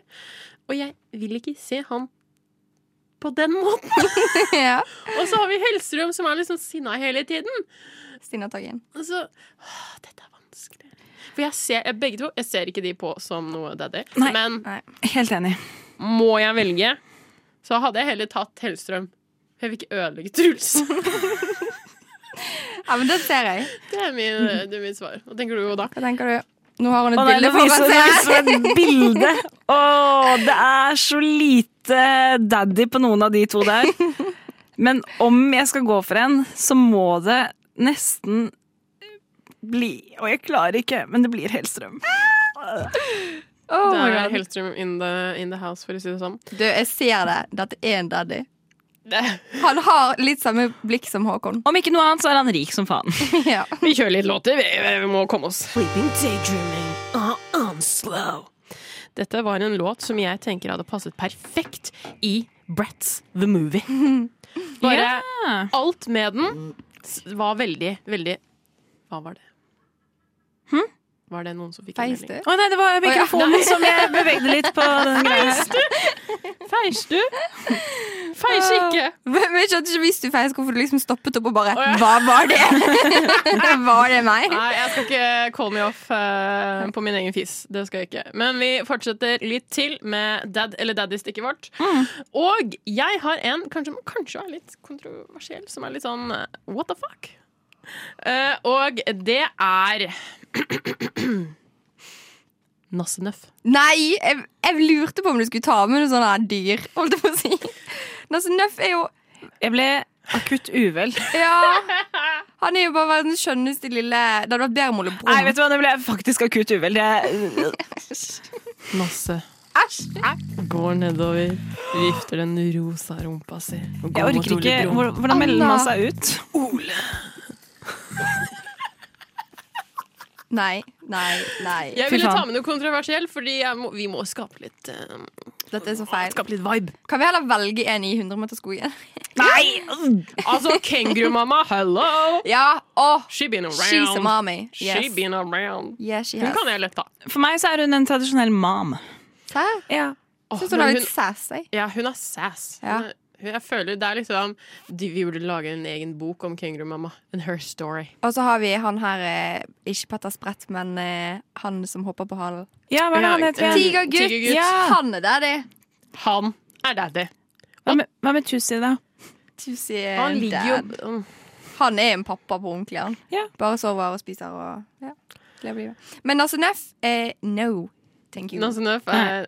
E: Og jeg vil ikke se han på den måten.
G: ja.
E: Og så har vi Hellstrøm, som er liksom sinna hele tiden.
G: Stina Taggen.
E: Og så, åh, dette er vanskelig. For jeg ser, jeg, begge to, jeg ser ikke de på som noe daddy.
F: Nei.
E: Men
F: Helt enig.
E: må jeg velge, så hadde jeg heller tatt Hellstrøm. Jeg vil ikke ødelegge Truls.
G: Ja, men det ser jeg.
E: Det er min- det er mitt svar. Hva tenker du da?
G: Hva tenker du? Nå har hun et
F: Å nei,
G: bilde
F: nå
G: foran
F: viser nå
G: seg.
F: viser hun et bilde. Åh, det er så lite daddy på noen av de to der. Men om jeg skal gå for en, så må det nesten bli Og jeg klarer ikke, men det blir Hellstrøm.
G: Oh
E: det
G: my
E: er
G: God.
E: Hellstrøm in the, in the house, for å si det sånn.
G: Du, jeg ser det. Dette er en daddy.
E: Det.
G: Han har litt samme blikk som Håkon.
F: Om ikke noe annet, så er han rik som faen.
G: Ja.
E: Vi kjører litt låter, vi, vi må komme oss. Dette var en låt som jeg tenker hadde passet perfekt i Brats The Movie. Bare alt med den s- var veldig, veldig Hva var det? Var det noen som fikk
G: Feis du?
E: en melding?
F: Å nei, det var mikrofonen
G: Å, ja.
F: som jeg bevegde litt på den greia her.
E: Feis du? Feis ikke!
G: Men jeg skjønte ikke hvis du feis hvorfor du liksom stoppet opp og bare
E: ja.
G: Hva var det? var det meg?
E: Nei, jeg skal ikke call me off eh, på min egen fis. Det skal jeg ikke. Men vi fortsetter litt til med dad eller daddy-stikket vårt.
F: Mm.
E: Og jeg har en kanskje, som kanskje er litt kontroversiell, som er litt sånn eh, what the fuck? Eh, og det er Nassenøff.
G: Nei, jeg, jeg lurte på om du skulle ta med noe sånt her dyr, holdt jeg på å si. Men Altså, Nøff er jo
F: Jeg ble akutt uvel.
G: Ja. Han er jo bare verdens skjønneste lille Det hadde vært bedre om Ole Brumm.
F: Nei, vet du hva, det ble jeg faktisk akutt uvel. Jeg,
E: Nasse
G: Æsj!
E: går nedover, vifter den rosa rumpa si. og går mot
F: jeg orker
E: Ole
F: ikke
E: Brumm.
F: hvor- Hvordan melder man
G: Anna.
F: seg ut?
G: Nei, nei, nei.
E: Jeg
F: Fy
E: ville
F: faen.
E: ta med noe kontroversiell, fordi jeg må, vi må skape litt, eh,
G: Dette er så feil.
E: skape litt vibe.
G: Kan vi heller velge en i 100-meterskogen?
F: Nei!
E: Altså, kengurumamma, hello!
G: Ja. Åh!
E: She been around.
G: She's a mommy.
E: She
G: Yes.
E: been around.
G: Yeah, she
E: Hun
G: has.
E: kan jeg lett ta.
F: For meg så er hun en tradisjonell mam.
G: Hæ?
F: Ja.
E: Åh, men
G: Syns hun har
E: hun,
G: litt sass, jeg.
E: ja, hun er sass. Hun
G: Ja.
E: er- hun- Jeg føler det er liksom de, Vi burde lage en egen bok om kengurumamma. And her story.
G: Og så har vi han her, eh, ikke Petter Sprett, men eh, han som hopper på halen.
F: Ja, hva er det han
E: Ja,
F: heter?
E: eh,
F: igjen?
G: Tigergutt!
E: Tigergutt.
G: Ja. Han er daddy.
E: Han er daddy.
F: Hva med, hva med Tussi, da?
G: Tusi er
E: Han ligger jo
G: dad.
E: Mm.
G: Han er en pappa på ordentlig, han.
F: Ja.
G: Bare sover og spiser og ja, lever livet. Men altså, Neff er no. Thank you.
E: Nansen Nøff er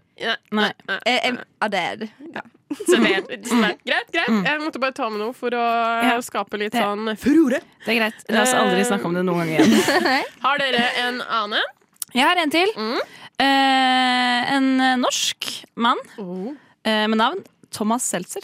E: Nei.
F: Nei.
G: Eh, em, a dad. Ja.
E: Servert. servert. Greit, greit. Jeg måtte bare ta med noe for å
F: Mm. Ja.
E: skape litt
F: Det-
E: sånn furore.
F: Det er greit. La oss aldri snakke om det noen gang igjen.
E: Har dere en annen?
F: Jeg har en til.
E: Mm.
F: Eh, en norsk mann
E: Oh.
F: eh, med navn Thomas Seltzer.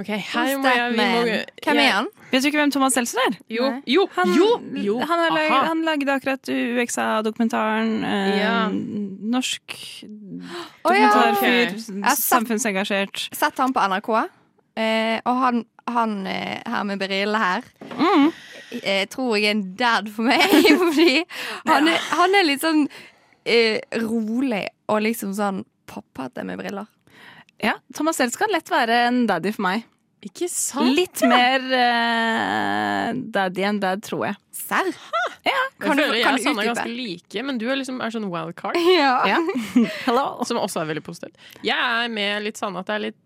E: OK, her
G: Who's
E: må
G: that
E: jeg vi
G: man?
E: må,
G: Hvem er han?
F: Vet du ikke hvem Thomas Seltzer er?
E: Jo,
G: Nei.
E: jo,
F: Han,
E: jo, jo.
F: han, har lag,
E: Aha.
F: han lagde akkurat UXA-dokumentaren. Eh,
E: Ja.
F: Norsk
G: Å ja.
F: dokumentarfyr.
E: Ok.
G: har
F: s-
G: sett-
F: Samfunnsengasjert.
G: Sett han på NRK. Eh, og han, han eh, her med brillene her
E: Mm.
G: eh, tror jeg er en dad for meg. Fordi han er, han er litt sånn eh, rolig og liksom sånn pappate med briller.
F: Ja, Thomas Seltzer kan lett være en daddy for meg.
E: Ikke sant?
F: Litt mer eh, daddy enn dad, tror jeg.
G: Serr?
E: Jeg
G: Kan du-
E: føler jeg og
G: kan du
E: Sanne er
G: utdype?
E: ganske like, men du er liksom er sånn wildcard.
G: Ja.
F: Ja. Hello.
E: Som også er veldig positivt. Jeg er med litt Sanne at det er litt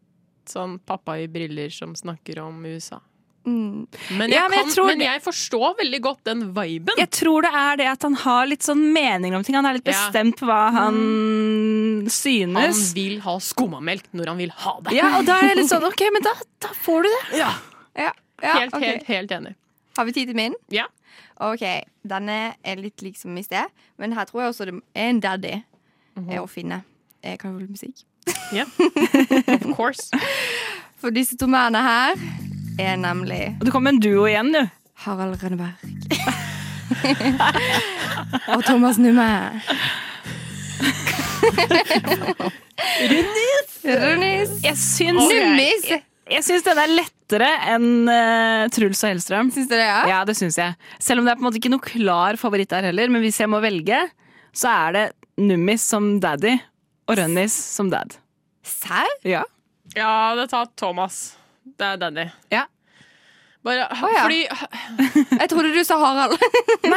E: sånn pappa i briller som snakker om USA.
G: Mm.
E: Men jeg,
F: Ja, men jeg
E: kan,
F: tror
E: men
F: det-
E: jeg forstår veldig godt den viben.
F: Jeg tror det er det at han har litt sånn mening om ting. Han er litt
E: Ja.
F: bestemt på hva han Mm.
E: Han
F: synes.
E: vil ha skummamelk når han vil ha det.
F: Ja, og da er jeg litt sånn OK, men da, da får du det.
G: Ja. ja,
E: Helt,
G: ok.
E: helt, helt enig.
G: Har vi tid til min?
E: Ja.
G: Ok, Denne er litt lik som i sted, men her tror jeg også det er en daddy eh, å finne. Eh, Kan du holde musikk?
E: Ja. Of course.
G: For disse to mennene her er nemlig
F: Og det kom en duo igjen, du.
G: Harald Rønneberg. og Thomas Numme. Runis.
F: Jeg syns,
G: Nummis.
F: jeg syns den er lettere enn eh, Truls og Hellstrøm.
G: Syns du det, ja?
F: Ja, det syns jeg. Selv om det er på en måte ikke noe klar favoritt der heller. Men hvis jeg må velge, så er det Nummis som daddy og Rønnis som dad.
G: Serr?
F: Ja.
E: Ja, det tar Thomas. Det er Danny.
F: Ja.
E: Bare,
G: ja.
E: fordi,
G: Jeg trodde du sa Harald.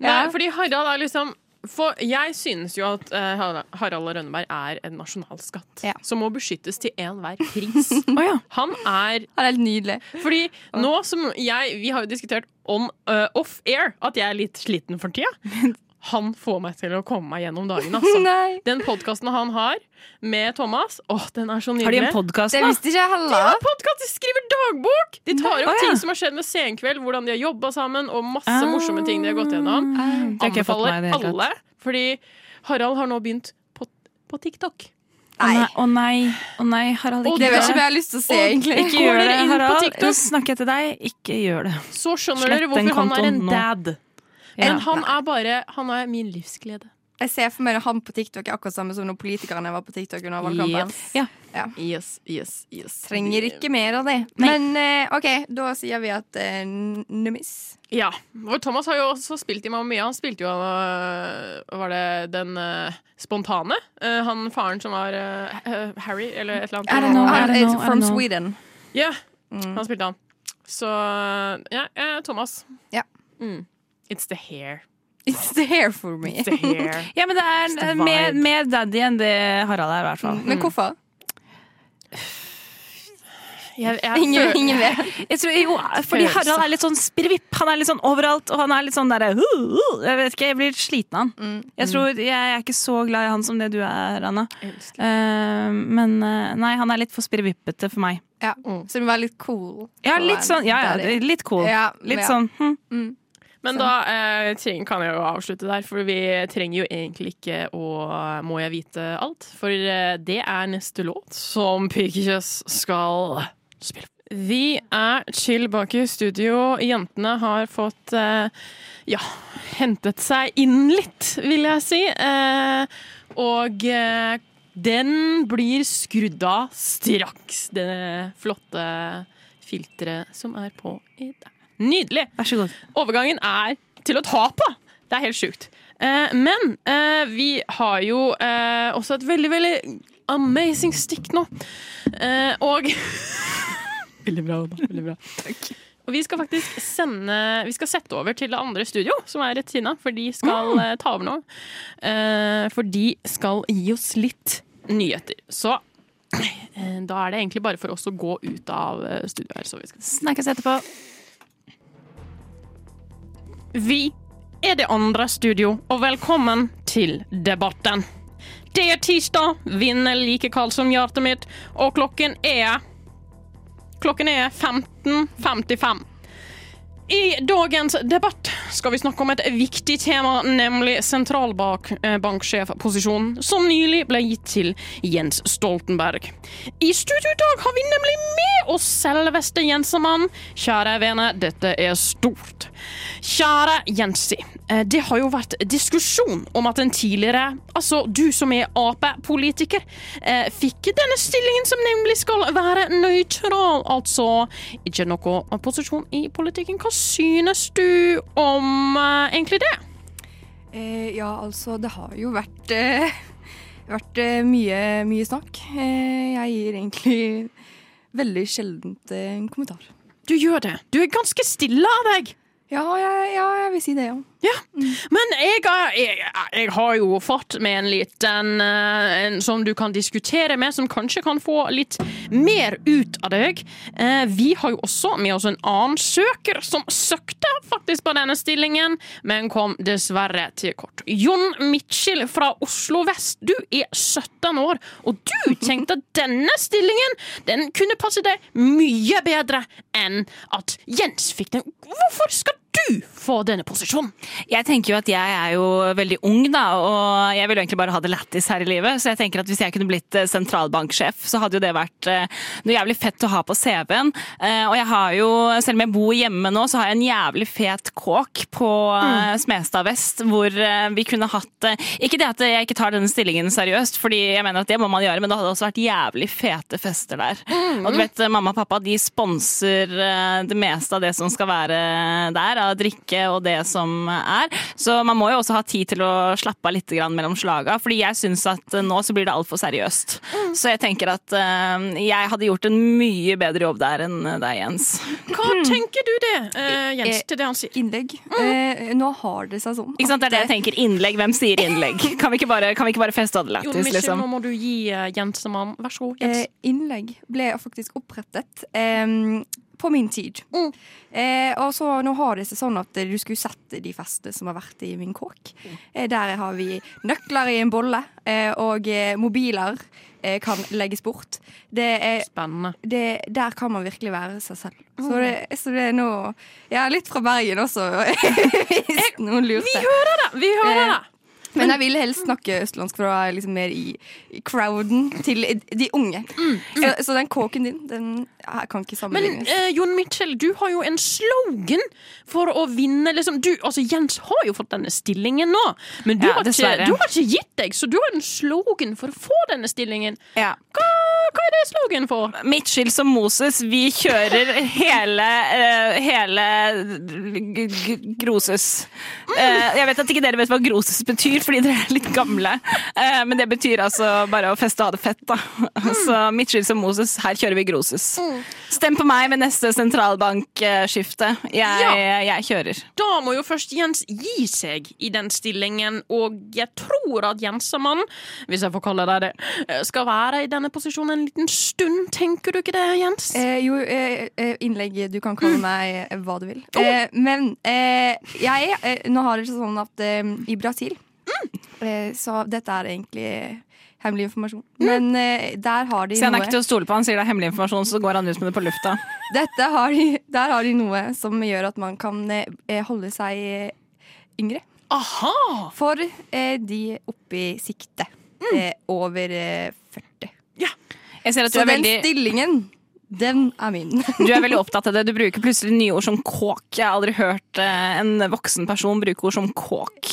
E: nei, fordi Harald er liksom for jeg synes jo at eh, Harald- Harald og Rønneberg er en nasjonalskatt
G: Ja.
E: som må beskyttes til enhver pris.
F: Å ja.
E: Han er
G: Han er helt nydelig.
E: Fordi nå som jeg Vi har jo diskutert on uh, off air at jeg er litt sliten for tida. Han får meg til å komme meg gjennom dagen, altså.
G: Nei.
E: Den podkasten han har med Thomas, åh, den er så
F: Har de
E: nydelig.
F: en podkast
G: Det
F: nå?
G: visste ikke jeg
E: Ja,
G: heller.
E: podcast, de skriver dagbok! De tar
F: Å,
E: opp
F: ja. Ah.
E: ting som har skjedd med Senkveld, hvordan de har jobba sammen, og masse morsomme ting de har gått gjennom.
F: Det har ikke jeg fått med meg i
E: Anbefaler
F: det hele tatt.
E: alle, fordi Harald har nå begynt på, på TikTok.
F: Å
G: Nei.
F: nei, å nei, å nei, Harald.
E: Og
F: Ikke
G: Det var
F: gjør
G: ikke
F: det.
G: hva jeg har lyst til å se, egentlig.
E: Ikke
F: Går
E: gjør
F: dere
E: dere inn på
F: Harald, nå
E: TikTok,
F: snakker jeg til deg. Ikke gjør det.
E: så skjønner
F: Slett
E: dere
F: den
E: hvorfor han er
F: kontoen
E: en
F: nå.
E: dad.
F: Ja.
E: Men han er bare Han er min livsglede.
G: Jeg ser for meg han på TikTok er akkurat samme som når politikerne var på TikTok under valgkampen.
F: Ja.
E: Yes, yes, yes.
G: Trenger ikke mer av det. Men eh, OK, da sier vi at eh, Numis.
E: Ja. Og Thomas har jo også spilt i Mamma Mia. Han spilte jo øh, Var det den øh, spontane? Øh, han faren som var øh, øh, Harry, eller et eller annet.
F: I don't know, Mm.
G: Han er
F: I don't know, I
G: from
F: don't know.
G: Sweden.
E: Ja, han spilte han. Så ja, eh, Thomas.
G: Ja.
E: Mm. It's the hair.
G: It's the hair for me.
E: It's the hair.
F: ja, men det
E: the
F: er
E: vibe.
F: mer, mer daddy enn det Harald er, i hvert fall.
G: Men hvorfor?
E: jeg, jeg,
G: Ingen,
E: føl-
G: ingen vet.
F: Jeg tror, jo, fordi
E: Følelse.
F: Harald er litt sånn spirrevipp. Han er litt sånn overalt, og han er litt sånn derre uh, uh, Jeg vet ikke, jeg blir sliten av han.
G: Mm.
F: Jeg tror jeg er ikke så glad i han som det du er, Anna. Eh, men eh, nei, han er litt for spirrevippete for meg.
G: Ja. Så du må være litt cool.
F: Mm. Ja,
G: Og
F: litt sånn, ja, ja,
G: daddy.
F: det er litt cool.
G: Ja,
F: Litt
G: ja.
F: sånn hm.
E: Men da eh, treng, kan jeg jo avslutte der, for vi trenger jo egentlig ikke å Må jeg vite alt? For eh, det er neste låt som Pikekjøs skal spille. Vi er chill bak i studio. Jentene har fått eh, ja, hentet seg inn litt, vil jeg si. Eh, og eh, den blir skrudd av straks, det flotte filteret som er på i dag. Nydelig!
F: Vær så god.
E: Overgangen er til å ta på! Det er helt sjukt. Eh, men eh, vi har jo eh, også et veldig, veldig amazing stikk nå. Eh, og Veldig bra, Oda. Veldig bra. Og vi skal faktisk sende Vi skal sette over til det andre studio, som er rett ved siden av, for de skal eh, ta over nå. Eh, for de skal gi oss litt nyheter. Så eh, da er det egentlig bare for oss å gå ut av eh, studio her. Så vi skal
F: Snakkes etterpå.
E: Vi er det andre studio, og velkommen til debatten. Det er tirsdag, vinden er like kald som hjertet mitt, og klokken er Klokken er 15.55. I dagens debatt skal vi snakke om et viktig tema, nemlig sentralbanksjefposisjonen, som nylig ble gitt til Jens Stoltenberg. I studio i dag har vi nemlig med oss selveste Jensemann. Kjære vene, dette er stort. Kjære Jensi, eh, det har jo vært diskusjon om at en tidligere, altså du som er Ap-politiker, eh, fikk denne stillingen som nemlig skal være nøytral, altså ikke noe posisjon i politikken. Hva synes du om eh, egentlig det?
G: Eh, ja, altså, det har jo vært, eh, vært eh, mye, mye snakk. Eh, jeg gir egentlig veldig sjeldent eh, en kommentar.
E: Du gjør det. Du er ganske stille av deg.
G: Ja, jeg, ja, jeg vil si det, ja.
E: Ja, men jeg, er- jeg, jeg har jo fått med en liten eh, en som du kan diskutere med, som kanskje kan få litt mer ut av deg. Eh, Vi har jo også med oss en annen søker som søkte faktisk på denne stillingen, men kom dessverre til kort. Jon Mitchell fra Oslo vest, du er 17 år, og du tenkte at denne stillingen den kunne passe deg mye bedre enn at Jens fikk den. Hvorfor skal du få denne posisjonen?
F: Jeg tenker jo at jeg er jo veldig ung, da, og jeg vil jo egentlig bare ha det lættis her i livet. Så jeg tenker at hvis jeg kunne blitt eh, sentralbanksjef, så hadde jo det vært eh, noe jævlig fett å ha på CV-en. Eh, Og jeg har jo, selv om jeg bor hjemme nå, så har jeg en jævlig fet kåk på eh, Smestad vest, hvor eh, vi kunne hatt eh, Ikke det at jeg ikke tar denne stillingen seriøst, fordi jeg mener at det må man gjøre, men det hadde også vært jævlig fete fester der.
E: Mhm.
F: Og du vet, mamma og pappa de sponser eh, det meste av det som skal være der, av drikke og det som er. Så man må jo også ha tid til å slappe av litt grann mellom slaga, fordi jeg syns at eh, nå så blir det altfor seriøst.
E: Mhm.
F: Så jeg tenker at eh, jeg hadde gjort en mye bedre jobb der enn deg, Jens.
E: Hva
F: Mm.
E: tenker du det, eh, Jens, til det han sier?
G: Innlegg. Eh, nå har det seg sånn.
F: Mhm. Ikke sant, Det er det jeg tenker. Innlegg. Hvem sier innlegg? Kan vi ikke bare, kan vi ikke bare feste og ha det
E: Jo, men
F: lættis,
E: ikke,
F: liksom?
E: nå må du gi eh, Jens til mamma. Vær så god,
G: Eh,
E: Jens.
G: innlegg ble faktisk opprettet em, på min tid. Eh, og så nå har det seg sånn at eh, du skulle sett de festene som har vært i min kåk. Eh, der har vi nøkler i en bolle, eh, og eh, mobiler eh, kan legges bort. Det er
E: Spennende.
G: det, der kan man virkelig være seg selv. Så det, så det er nå Jeg er litt fra Bergen også, hvis noen lurte.
E: Da, vi
F: Eh,
E: hører det!
G: Men jeg ville helst snakke østlandsk, for da er jeg liksom mer i, i crowden til de unge. Så, så den kåken din, den jeg kan ikke
E: Mm, Men
G: sammenlignes.
E: eh, Jon Mitchell, du har jo en slogan for å vinne liksom. du, altså, Jens har jo fått denne stillingen nå, men du,
F: Ja,
E: har ikke,
F: dessverre.
E: du har ikke gitt deg, så du har en slogan for å få denne stillingen.
F: Ja.
E: Hva, hva er det slogan for?
F: Midtskill som Moses, vi kjører hele, eh, hele g- g- Groses. Eh, jeg vet at ikke dere vet hva Groses betyr, fordi dere er litt gamle. Eh, men det betyr altså bare å feste og ha det fett, da. Så Midtskill som Moses, her kjører vi Groses. Stem på meg ved neste sentralbankskifte. Jeg, jeg kjører.
E: Da må jo først Jens gi seg i den stillingen, og jeg tror at Jensemann, hvis jeg får kalle deg det, eh, skal være i denne posisjonen en liten stund. Tenker du ikke det, Jens?
G: Eh, jo, eh, eh, innlegg Du kan
E: Mm.
G: kalle meg eh, hva du vil.
E: Oh.
G: Eh, men eh, jeg er eh, Nå har det seg sånn at eh, i Brasil
E: Mm.
G: eh, Så dette er egentlig hemmelig informasjon.
E: Mm.
G: Men eh, der har de
F: Sier han er
G: noe-
F: ikke til å stole på, han sier det er hemmelig informasjon, så går han ut med det på lufta.
G: Dette har de, der har de noe som gjør at man kan eh, holde seg eh, yngre.
E: Aha!
G: For eh, de oppe i sikte.
F: Mm.
G: Eh, over eh, 40.
F: Jeg ser at du
G: Så
F: er
G: den
F: veldig Eh,
G: stillingen, den er min.
F: Du er veldig opptatt av det. Du bruker plutselig nye ord som kåk. Jeg har aldri hørt eh, en voksen person bruke ord som kåk.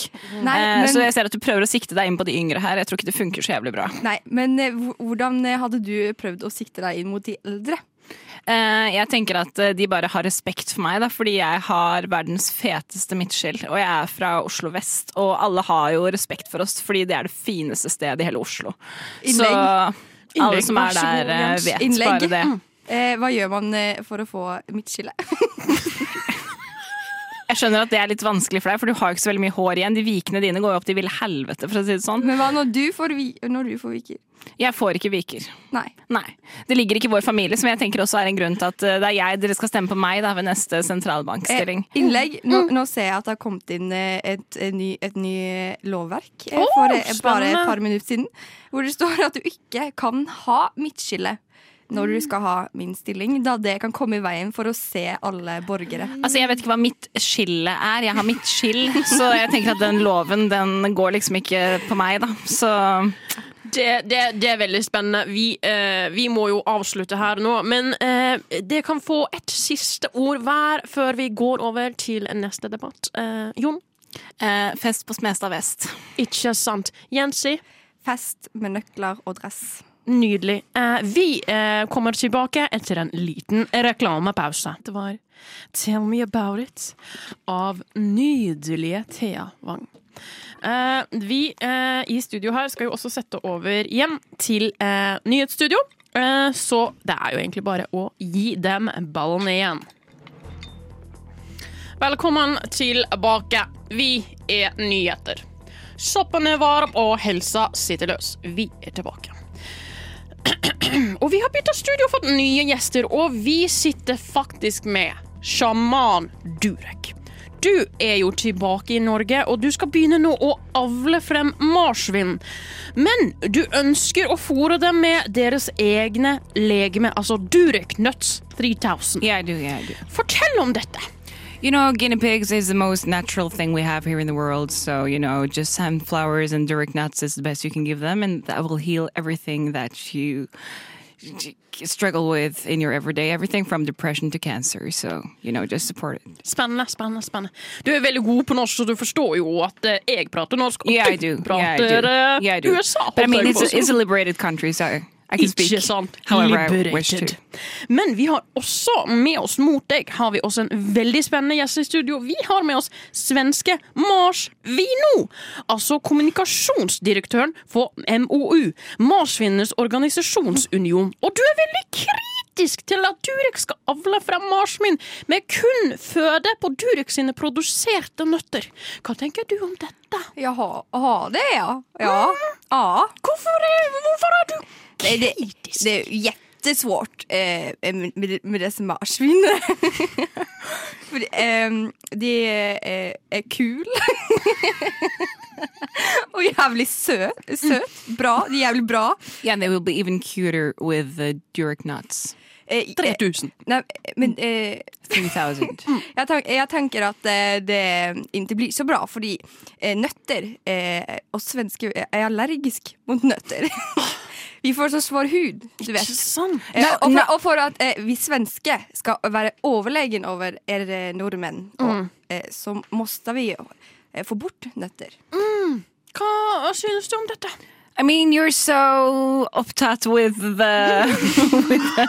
G: Nei,
F: Eh, Så
G: men,
F: jeg ser at du prøver å sikte deg inn på de yngre her. Jeg tror ikke det funker så jævlig bra.
G: nei, men eh, hvor- hvordan eh, hadde du prøvd å sikte deg inn mot de eldre?
F: Eh, Jeg tenker at eh, de bare har respekt for meg, da, fordi jeg har verdens feteste midtskill. Og jeg er fra Oslo vest, og alle har jo respekt for oss, fordi det er det fineste stedet i hele Oslo. Så
G: Innlegg.
F: alle som
E: Innlegg, vær
F: er
E: så god,
F: der, eh,
E: Jens.
F: vet
G: Innlegg.
F: bare det.
G: Eh, hva gjør man eh, for å få midtskille?
F: Jeg skjønner at det er litt vanskelig for deg, for du har jo ikke så veldig mye hår igjen. De vikene dine går jo opp til ville helvete, for å si det sånn.
G: Men hva når du får, vi når du får viker?
F: Jeg får ikke viker.
G: Nei.
F: Nei. Det ligger ikke i vår familie, som jeg tenker også er en grunn til at eh, det er jeg dere skal stemme på meg da, ved neste
G: Eh,
F: sentralbankstilling.
G: innlegg. Nå, nå ser jeg at det har kommet inn eh, et, et, ny, et ny eh, lovverk eh, for eh, bare
E: spennende.
G: et par minutter siden, hvor det står at du ikke kan ha midtskille når du skal ha min stilling, da det kan komme i veien for å se alle borgere.
F: Altså, Jeg vet ikke hva mitt skille er. Jeg har mitt skill, så jeg tenker at den loven den går liksom ikke på meg, da. Så
E: Det, det, det er veldig spennende. Vi, eh, vi må jo avslutte her nå. Men eh, det kan få et siste ord hver før vi går over til neste debatt. Eh, Jon?
F: eh, fest på Smestad vest.
E: Ikke sant. Jensi?
G: Fest med nøkler og dress.
E: Nydelig. Eh, vi eh, kommer tilbake etter en liten reklamepause. Det var Tell Me About It av nydelige Thea Wang. Eh, vi eh, i studio her skal jo også sette over hjem til eh, nyhetsstudio. Eh, så det er jo egentlig bare å gi dem ballen igjen. Velkommen tilbake. Vi er nyheter. Soppen er varm, og helsa sitter løs. Vi er tilbake. Og vi har bytta studio og fått nye gjester, og vi sitter faktisk med sjaman Durek. Du er jo tilbake i Norge, og du skal begynne nå å avle frem marsvin. Men du ønsker å fôre dem med deres egne legeme, altså Durek Nuts 3000.
F: Jeg du, jeg du.
E: Fortell om dette.
F: you know, guinea pigs is the most natural thing we have here in the world. So, you know, just sand flowers and direct nuts is the best you can give them, and that will heal everything that you struggle with in your everyday, everything from depression to cancer. So, you know, just support it.
E: Spennende, spennende. spennende Du er veldig god på norsk, så du forstår jo at eh, jeg prater norsk, og
F: Yeah, I
E: du
F: do. Yeah, I
E: prater
F: do.
E: eh,
F: Yeah, I do.
E: USA.
F: But I mean,
E: holdt jeg
F: it's
E: på å
F: a,
E: si.
F: it's a liberated country, so I can speak.
E: Ikke sant.
F: however I wish
E: Liberated.
F: to.
E: Men vi har også med oss mot deg har vi også en veldig spennende gjest i studio. Vi har med oss svenske Mars Vino. Altså kommunikasjonsdirektøren for MOU, Marsvinnenes organisasjonsunion. Og du er veldig kritisk til at Durek skal avle frem marsvin med kun føde på Durek sine produserte nøtter. Hva tenker du om dette?
G: Jaha, aha, det ja. Ja. ja.
E: Hvorfor er, hvorfor er du
G: Det, det,
E: kritisk?
G: det är jättesvårt eh, med, med- med dessa marsvin. För ehm, det eh, är kul. Och jävligt söt, söt, bra, det är jävligt bra.
F: Yeah, and they will be even cuter with the Durek nuts.
G: Eh, eh,
E: 3000.
G: nej, men eh,
F: 3000.
G: jag, tan- jag tänker att eh, det inte blir så bra för eh, nötter eh, och svenskar är allergisk mot nötter. Vi får så svår hud, du vet.
E: Ikke sant?
G: Eh, og, for, og for at eh, vi svenske skal være overlegen over dere nordmenn, og, eh, så måste vi jo, eh, få bort nøtter.
E: Hva synes du om dette?
F: I mean, you're so uptight with the, with the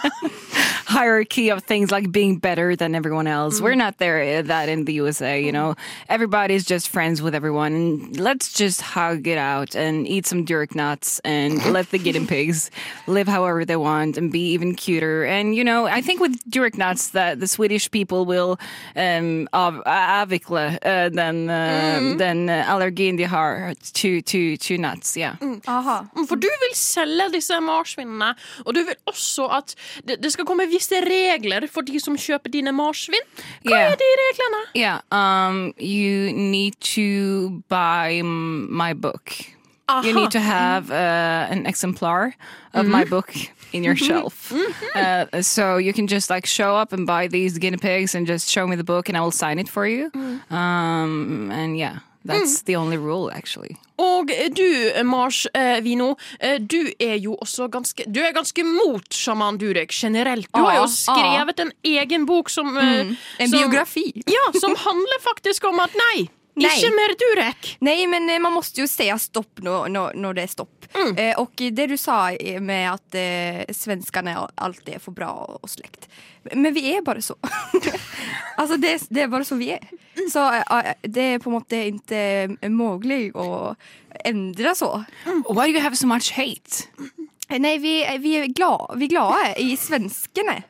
F: hierarchy of things like being better than everyone else. We're not there uh, that in the USA, you know. Everybody's just friends with everyone. Let's just hug it out and eat some Durek nuts and let the guinea pigs live however they want and be even cuter. And you know, I think with Durek nuts that the Swedish people will um av avikla uh, than uh, than uh, allergy in the heart to to to nuts. Yeah.
G: Aha.
E: Mm, For du vil selge disse marsvinene, og du vil også at det, det skal komme visse regler for de som kjøper dine marsvin. Hva
F: Yeah.
E: er de reglene?
F: Yeah. Um, you need to buy m- my book. You need to have uh, an exemplar of my book in your shelf. Uh, so you can just like show up and buy these guinea pigs and just show me the book and I will sign it for you. Um, and yeah, that's the only rule actually.
E: Og eh, du, eh, Mars eh, Vino, eh, du er jo også ganske Du er ganske mot sjaman Durek generelt. Du har
G: Ah, Mm,
E: jo skrevet en egen bok som eh,
G: En
E: som,
G: biografi.
E: Ja, som handler faktisk om at nei,
G: Nei.
E: ikke mer Durek.
G: Nej, men eh, man måste ju säga stopp när, när, när det är stopp. Eh, och det du sa eh, med att eh, svenskarna alltid är för bra och, och släkt. Men vi är bara så. alltså det, det är bara så vi är. Så eh, det är på något sätt inte eh, möjligt att ändra så.
F: Why do you have so much hate?
G: Nei, vi, eh, vi er glad, vi er glade i svenskene.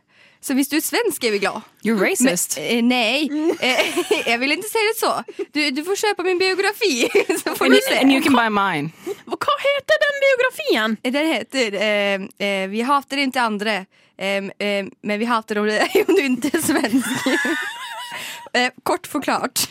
G: Så hvis du er svensk, er vi glad.
F: You're racist.
G: Eh, Nei, eh, jeg vil ikke si det så. Du, du får kjøpe min biografi, så får
F: and,
G: du
F: you, and you
G: se.
F: can buy mine.
E: Hva heter den biografien?
G: Den heter eh, eh, Vi hater ikke andre, eh, eh, men vi hater om, det, om du ikke er svensk. eh, kort forklart.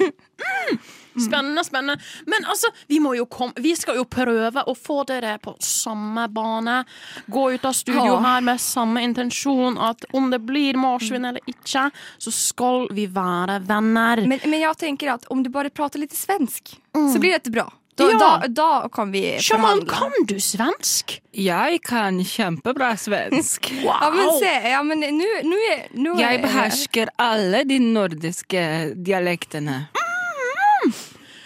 E: Spennende, spennende. Men altså, vi må jo komme Vi skal jo prøve å få dere på samme bane. Gå ut av studio
G: Ja.
E: her med samme intensjon at om det blir marsvin eller ikke, så skal vi være venner.
G: Men, men jeg tenker at om du bare prater litt svensk, så blir dette bra. Da,
E: Ja.
G: da, da kan vi
E: Sjaman,
G: forhandle.
E: kan du svensk?
F: Jeg kan kjempebra svensk.
E: Wow!
G: Ja, men se. Ja, men nå nå er nå er-
F: Jeg behersker alle de nordiske dialektene.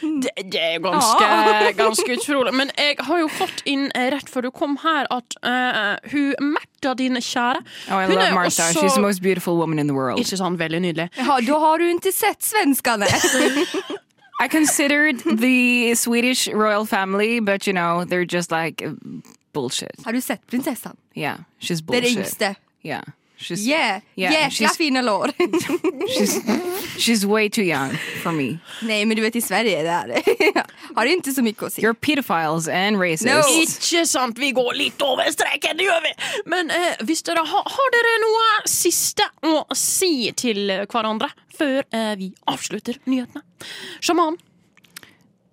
E: Det, det er ganske, ganske utrolig. Men jeg har jo fått inn eh, rett før du kom her, at eh, hun Märtha, din kjære
F: Oh, I
E: Hun
F: love
E: er
F: Martha.
E: også-
F: She's the most beautiful woman in the world.
E: Ikke sant? Veldig nydelig.
G: Ja, da har du ikke sett svenskene!
F: I considered the Swedish royal family, but you know, they're just like uh, bullshit.
G: Har du sett prinsessen?
F: Yeah, she's
G: Det er
F: bullshit.
G: det yngste.
F: Yeah. She's
G: Oh, Yeah.
F: Yeah,
G: Jækla
F: she's-
G: fine lår.
F: she's she's way too young for me.
G: Nej, men du vet i Sverige är det här. har inte så mycket att se.
F: You're pedophiles and racists.
G: No.
E: Ikke sant, vi går litt over streken, det gjør vi! Men eh, hvis dere har, har dere noe siste å si til hverandre før eh, vi avslutter nyhetene? Sjaman,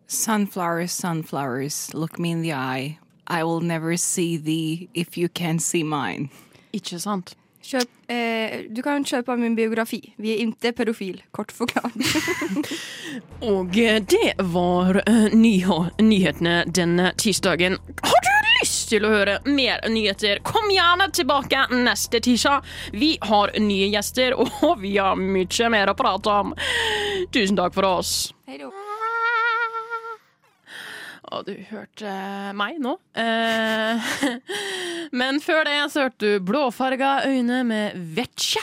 F: Sunflowers, sunflowers, look me in the eye. I will never see thee if you can see mine.
E: ikke sant?
G: Kjøp, eh, du kan kjøpe min biografi. Vi er ikke pedofil, kort forklart.
E: Og eh, det var eh, nyho- nyhetene denne tirsdagen. Har du lyst til å høre mer nyheter, kom gjerne tilbake neste tirsdag. Vi har nye gjester, og vi har mye mer å prate om. Tusen takk for oss.
G: Hei da.
E: Og du hørte meg nå. Eh, Men før det så hørte du blåfarga øyne med Vetsje.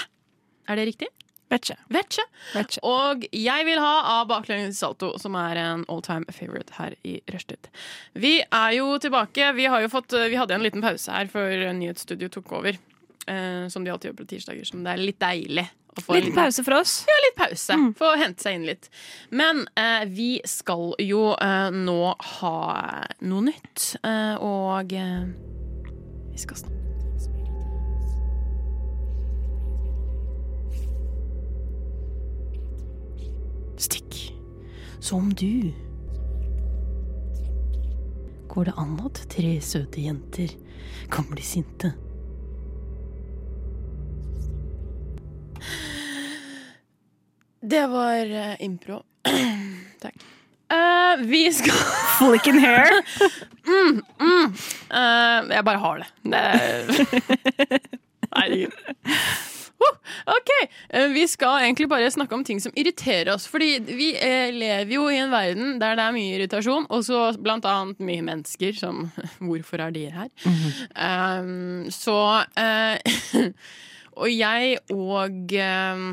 E: Er det riktig?
F: Vet ikke.
E: Vetsje.
F: Vet ikke.
E: Og jeg vil ha av baklengs salto, som er en all time favorite her i Rushtid. Vi er jo tilbake. Vi, har jo fått, eh, vi hadde en liten pause her før nyhetsstudio tok over. eh, som de alltid gjør på tirsdager, som det er litt deilig å få en
F: Liten
E: liten
F: pause for oss.
E: litt pause. Få hente seg inn litt. Men eh, vi skal jo eh, nå ha noe nytt, eh, og eh, vi skal snakke Stikk som du. Går det an at tre søte jenter kan bli sinte? Det var eh, impro. Takk. Eh, vi skal Mm,
F: Flicking hair.
E: Eh, Jeg bare har det. det er- Herregud. Huh, OK. Eh, Vi skal egentlig bare snakke om ting som irriterer oss. Fordi vi eh, lever jo i en verden der det er mye irritasjon, og så blant annet mye mennesker som Hvorfor er de her? Eh, så eh, Og jeg og eh,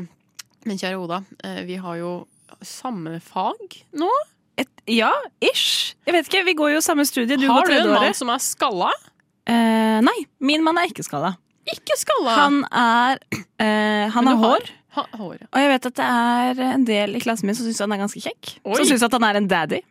E: Min kjære Oda, eh, vi har jo samme fag nå.
F: Et, ja, ish. Jeg vet ikke, Vi går jo samme studie. Du
E: har
F: går
E: du en
F: tredje
E: mann
F: året.
E: som er skalla?
F: Eh, nei, min mann er ikke skalla.
E: Ikke skalla!
F: Han er eh, Han
E: Men du
F: har hår.
E: Ha, hår, ja.
F: Og jeg vet at det er en del i klassen min som syns han er ganske kjekk.
E: Oi. Oh.
F: Som syns at han er en daddy.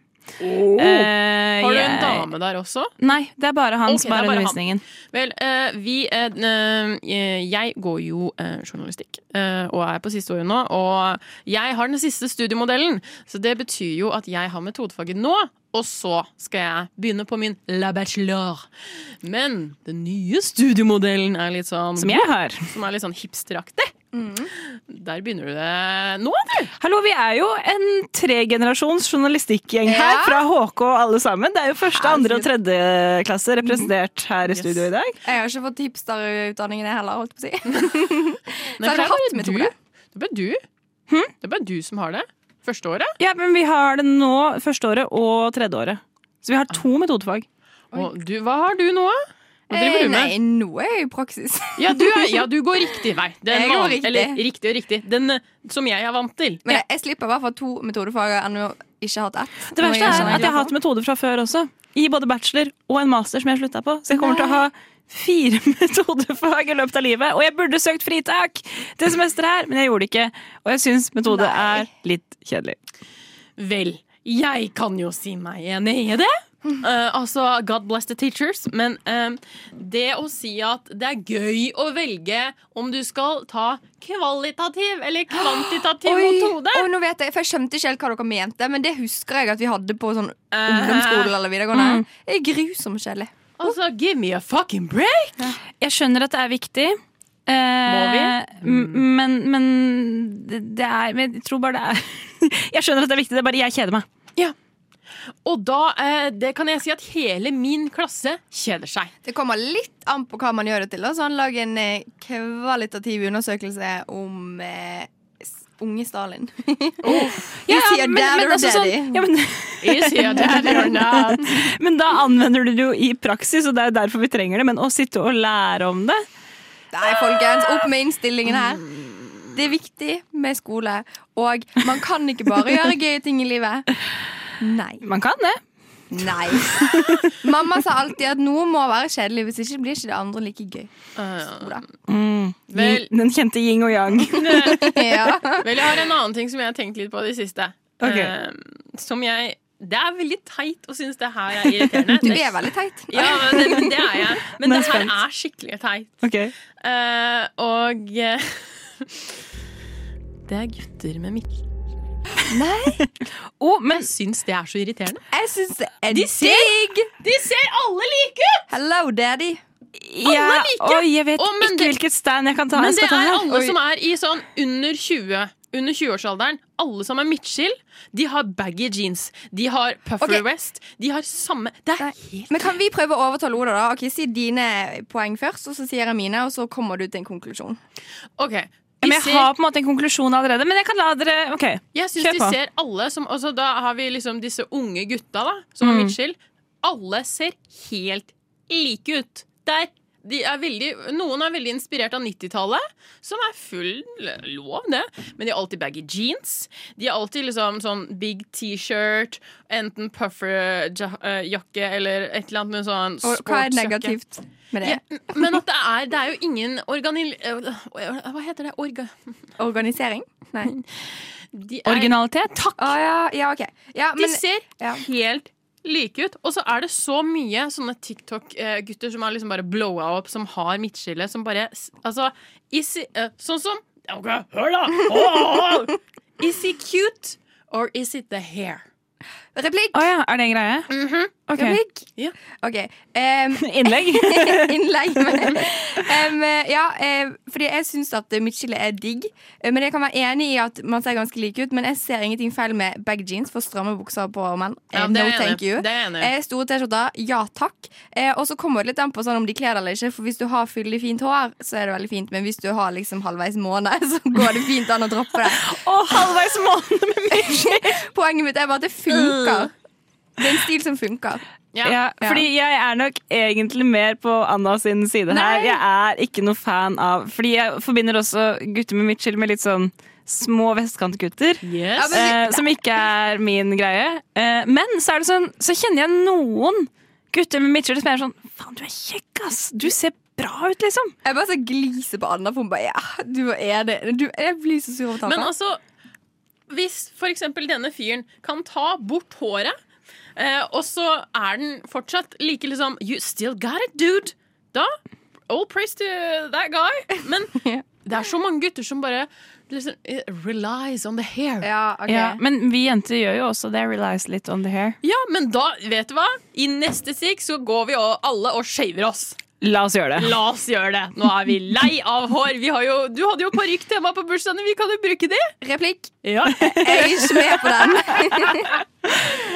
F: Eh,
E: Har du en
F: jeg-
E: dame der også?
F: Nei, det er bare han
E: Ok,
F: som
E: det er
F: har
E: bare han.
F: undervisningen.
E: Vel, eh, vi eh, eh, Jeg går jo eh, journalistikk eh, og er på siste året nå. Og jeg har den siste studiemodellen, så det betyr jo at jeg har metodefaget nå. Og så skal jeg begynne på min la bachelor. Men den nye studiemodellen er litt sånn
F: Som jeg Mm. har.
E: som er litt sånn hipsteraktig. Der begynner du det nå, du!
F: Hallo, vi er jo en tregenerasjons journalistikkgjeng her
G: Ja.
F: fra HK alle sammen. Det er jo første, andre og tredje klasse representert her i
E: Mhm. Yes.
F: studio i dag.
G: Jeg har ikke fått hipsterutdanningen jeg heller, holdt på å si.
E: Nei,
G: Så har
E: for det
G: du
E: er bare
G: hatt Hm?
E: Du.
G: metode?
E: Det er bare du. Det er bare du som har det. Første året.
F: Ja, men vi har det nå første året og tredje året. Så vi har to metodefag.
E: Og du, hva har du nå? Hva
G: Eh,
E: driver du med?
G: Nei, nå er jeg i praksis.
E: Ja du, er, ja, du går riktig vei. Den
G: Jeg går
E: van-
G: riktig.
E: Eller riktig og riktig. Den eh, som jeg er vant til.
G: Men jeg, jeg slipper i hvert fall to metodefag og ennå ikke hatt ett.
F: Det verste
G: Må
F: er
G: innrømme.
F: at jeg har hatt metoder fra før også. I både bachelor og en master som jeg slutta på. Så jeg kommer til å ha fire metodefag i løpet av livet. Og jeg burde søkt fritak det semesteret her, men jeg gjorde det ikke. Og jeg syns metode
G: Nei.
F: er litt kjedelig.
E: Vel, jeg kan jo si meg enig i det. Eh, altså, God bless the teachers. Men eh, det å si at det er gøy å velge om du skal ta kvalitativ eller kvantitativ
G: Oi,
E: metode
G: oi, nå vet jeg, for jeg skjønte ikke helt hva dere mente, men det husker jeg at vi hadde på sånn
E: Eh, mm.
G: ungdomsskole eller videregående. Det er grusomt kjedelig.
E: Altså, give me a fucking break!
F: Jeg skjønner at det er viktig. Eh,
E: vi?
F: m- Men, men det det er men Jeg tror bare det er Jeg skjønner at det er viktig, det er bare jeg kjeder meg.
E: Og da eh, det kan jeg si at hele min klasse kjeder seg.
G: Det kommer litt an på hva man gjør det til. da. Sånn, lag en eh, kvalitativ undersøkelse om eh, s- unge Stalin. You see a dad or a
F: altså sånn-
G: daddy.
F: ja, men,
E: Is he a daddy or not?
F: men da anvender du det jo i praksis, og det er jo derfor vi trenger det. Men å sitte og lære om det
G: Nei, folkens, opp med innstillingen her.
F: Mm.
G: Det er viktig med skole, og man kan ikke bare gjøre gøye ting i livet. Nei.
F: Man kan det.
G: Nei. Mamma sa alltid at noe må være kjedelig, hvis ikke blir ikke det andre like gøy.
E: Eh,
G: Oda.
E: vel,
F: Mm. Den kjente yin og yang.
G: Ja.
E: Vel, jeg har en annen ting som jeg har tenkt litt på i det siste.
F: Ok.
E: Eh, som jeg Det er veldig teit å synes det her er irriterende.
G: Du er veldig teit.
E: Ja, men det, men det er jeg. Men
F: Nå er
E: det her
F: jeg spent.
E: er skikkelig teit.
F: Ok.
E: Eh, og eh, Det er gutter med mitt
G: Nei,
F: Oh, men
E: Jeg syns det er så irriterende.
G: jeg syns det er digg.
E: De ser alle like ut!
G: Hello, daddy.
F: Alle
E: er like!
F: Oi, jeg vet
E: Å, men
F: ikke
E: det-
F: hvilket stand jeg kan ta.
E: Men
F: Jeg
E: det
F: skal ta
E: er
F: her.
E: alle
G: Oi.
E: som er i sånn under 20 under 20-årsalderen, alle som er midtskill, de har baggy jeans. De har puffer
G: Ok.
E: west. De har samme Det er
G: Nei.
E: helt
G: Men kan vi prøve å overtale Oda, da? Ok, Si dine poeng først, og så sier jeg mine, og så kommer du til en konklusjon.
E: OK.
F: Men
E: Vi
F: jeg
E: ser,
F: har på en måte en konklusjon allerede, men jeg kan la dere Ok.
E: jeg syns
F: kjør
E: vi
F: på.
E: ser alle som altså, Da har vi liksom disse unge gutta da, som
G: Mm.
E: har midtskill. Alle ser helt like ut. Der. De er veldig, noen er veldig inspirert av 90-tallet, som er full lov, det. Men de har alltid baggy jeans. De har alltid liksom sånn big T-shirt, enten pufferjakke eller et eller annet med sånn
G: Og hva er
E: sportsjakke.
G: negativt med det?
E: Ja, men at det er, det er jo ingen organil... Hva heter det? Orga...
G: Organisering? Nei.
E: De er,
F: Originalitet. Takk.
G: Å ja, ja, OK. Ja,
E: De
G: men
E: ser
G: ja.
E: helt like ut. Og så er det så mye sånne TikTok-gutter som er liksom bare blowa opp, som har midtskille, som bare s- Altså, is he, eh, Sånn som Ok, hør, da! Åh, åh. Is he cute, or is it the hair?
G: Replikk!
F: Å ja, er det en greie?
G: Mhm.
F: Ok.
G: Replikk.
E: Ja.
G: OK. em,
F: Innlegg.
G: innlegg. Men, em, ja, eh, fordi jeg syns at midtskille er digg. eh, Men jeg kan være enig i at man ser ganske like ut. Men jeg ser ingenting feil med bag jeans for stramme bukser på menn. Eh,
E: Ja, det
G: no
E: er jeg enig
G: thank
E: i.
G: you.
E: Det er jeg enig i.
G: Eh, store T-skjorter, ja takk. Eh, og så kommer det litt an på sånn om de kler det eller ikke. For hvis du har fyldig fint hår, så er det veldig fint. Men hvis du har liksom halvveis måned, så går det fint an å droppe det.
F: Og halvveis måned med meg.
G: Poenget mitt er bare at det funker.
E: Mm.
G: Det er en stil som funker.
E: Ja.
F: Ja, fordi jeg er nok egentlig mer på Anna sin side her.
G: Nei.
F: Jeg er ikke noe fan av Fordi jeg forbinder også gutter med midtskill med litt sånn små vestkantgutter.
E: Yes.
G: Ja, men-
F: eh, som ikke er min greie. Eh, men så er det sånn Så kjenner jeg noen gutter med midtskill som er sånn Faen, du er kjekk, ass! Du ser bra ut, liksom.
G: Jeg bare så gliser på Anna, for hun bare ja, du er det. Du, jeg blir så sur over
E: Men
G: taket.
E: altså, hvis for eksempel denne fyren kan ta bort håret, eh, og så er den fortsatt like liksom You still got it, dude! Da All praise to that guy. Men det er så mange gutter som bare liksom, eh, relies on the hair. Ja.
G: Ja, ok.
F: Ja, men vi jenter gjør jo også det. Relies litt on the hair.
E: men da, vet du hva? I neste stikk så går vi og, alle og shaver oss.
F: La oss gjøre det.
E: La oss gjøre det. Nå er vi lei av hår. Vi har jo, du hadde jo parykktema på bursdagen din. Vi kan jo bruke det.
G: Replikk.
E: Ja.
G: Jeg er ikke med på den.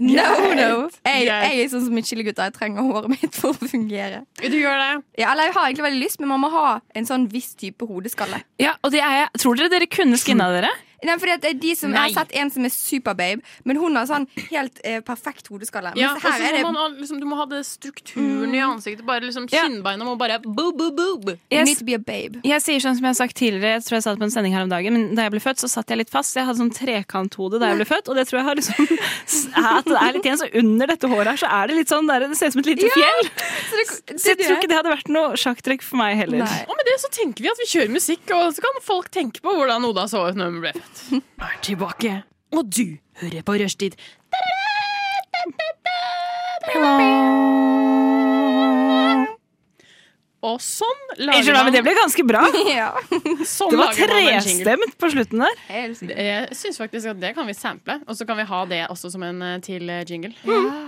G: no, no. Jeg,
E: Greit.
G: jeg er sånn som midtskillegutta. Jeg trenger håret mitt for å fungere.
E: Du gjør det.
G: Ja, eller jeg har egentlig veldig lyst, men man må ha en sånn viss type hodeskalle.
F: Ja, og det er jeg. Tror dere dere kunne skinna dere?
G: Nei, fordi at det er de som, Jeg har
E: Nei.
G: sett en som er superbabe, men hun har sånn helt eh, perfekt hodeskalle.
E: Ja,
G: Mens
E: og så
G: her er
E: må
G: det
E: man ha, liksom, du må ha det strukturen i ansiktet. Bare liksom
F: Ja.
E: Kinnbeina må bare boob, boob, boob.
G: You
F: Jeg
G: need to be a babe.
F: Jeg sier sånn som jeg har sagt tidligere, jeg tror jeg sa det på en sending her om dagen, men da jeg ble født, så satt jeg litt fast. Jeg hadde sånn trekanthode da jeg ble født, og det tror jeg har liksom at det er litt igjen. Så under dette håret her, så er det litt sånn der, det ser ut som et lite fjell.
G: Så det, det,
F: Så jeg tror ikke det hadde vært noe sjakktrekk for meg heller.
G: Nei.
E: Og med det så tenker vi at vi kjører musikk, og så kan folk tenke på hvordan Oda så ut når hun ble født. Er tilbake, og du hører på Rushtid. Og sånn
F: Unnskyld
E: lager
F: meg, men det
E: man
F: ble ganske bra.
G: Ja,
E: sånn
F: Det var
E: lager man en jingle.
F: trestemt på slutten der.
G: helt sikkert.
E: Jeg syns faktisk at det kan vi sample, og så kan vi ha det også som en eh, til eh, jingle.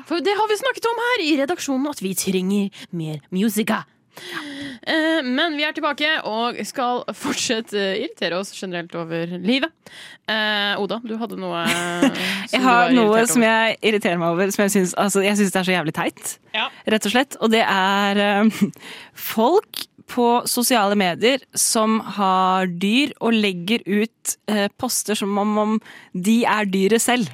E: For det har vi snakket om her i redaksjonen, at vi trenger mer musica. Eh, Men vi er tilbake og skal fortsatt eh, irritere oss generelt over livet. Eh, Oda, du hadde noe eh, som
F: Jeg har
E: du var
F: noe
E: irritert over.
F: som jeg irriterer meg over, som jeg syns altså, jeg syns det er så jævlig teit.
E: Ja.
F: Rett og slett. Og det er eh, folk på sosiale medier som har dyr og legger ut eh, poster som om, om de er dyret selv.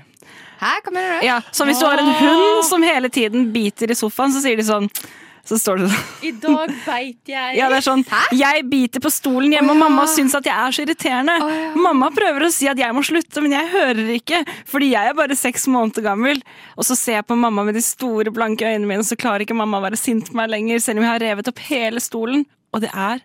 G: Hæ, hva mener du?
F: Ja, Som hvis du har en hund som hele tiden biter i sofaen, så sier de sånn så står det sånn
E: I dag beit jeg
F: Ja, det er sånn Jeg biter på stolen hjemme, og mamma syns at jeg er så irriterende. Mamma prøver å si at jeg må slutte, men jeg hører ikke. Fordi jeg er bare seks måneder gammel. Og så ser jeg på mamma med de store, blanke øynene mine, så klarer ikke mamma å være sint på meg lenger, selv om jeg har revet opp hele stolen. Og det er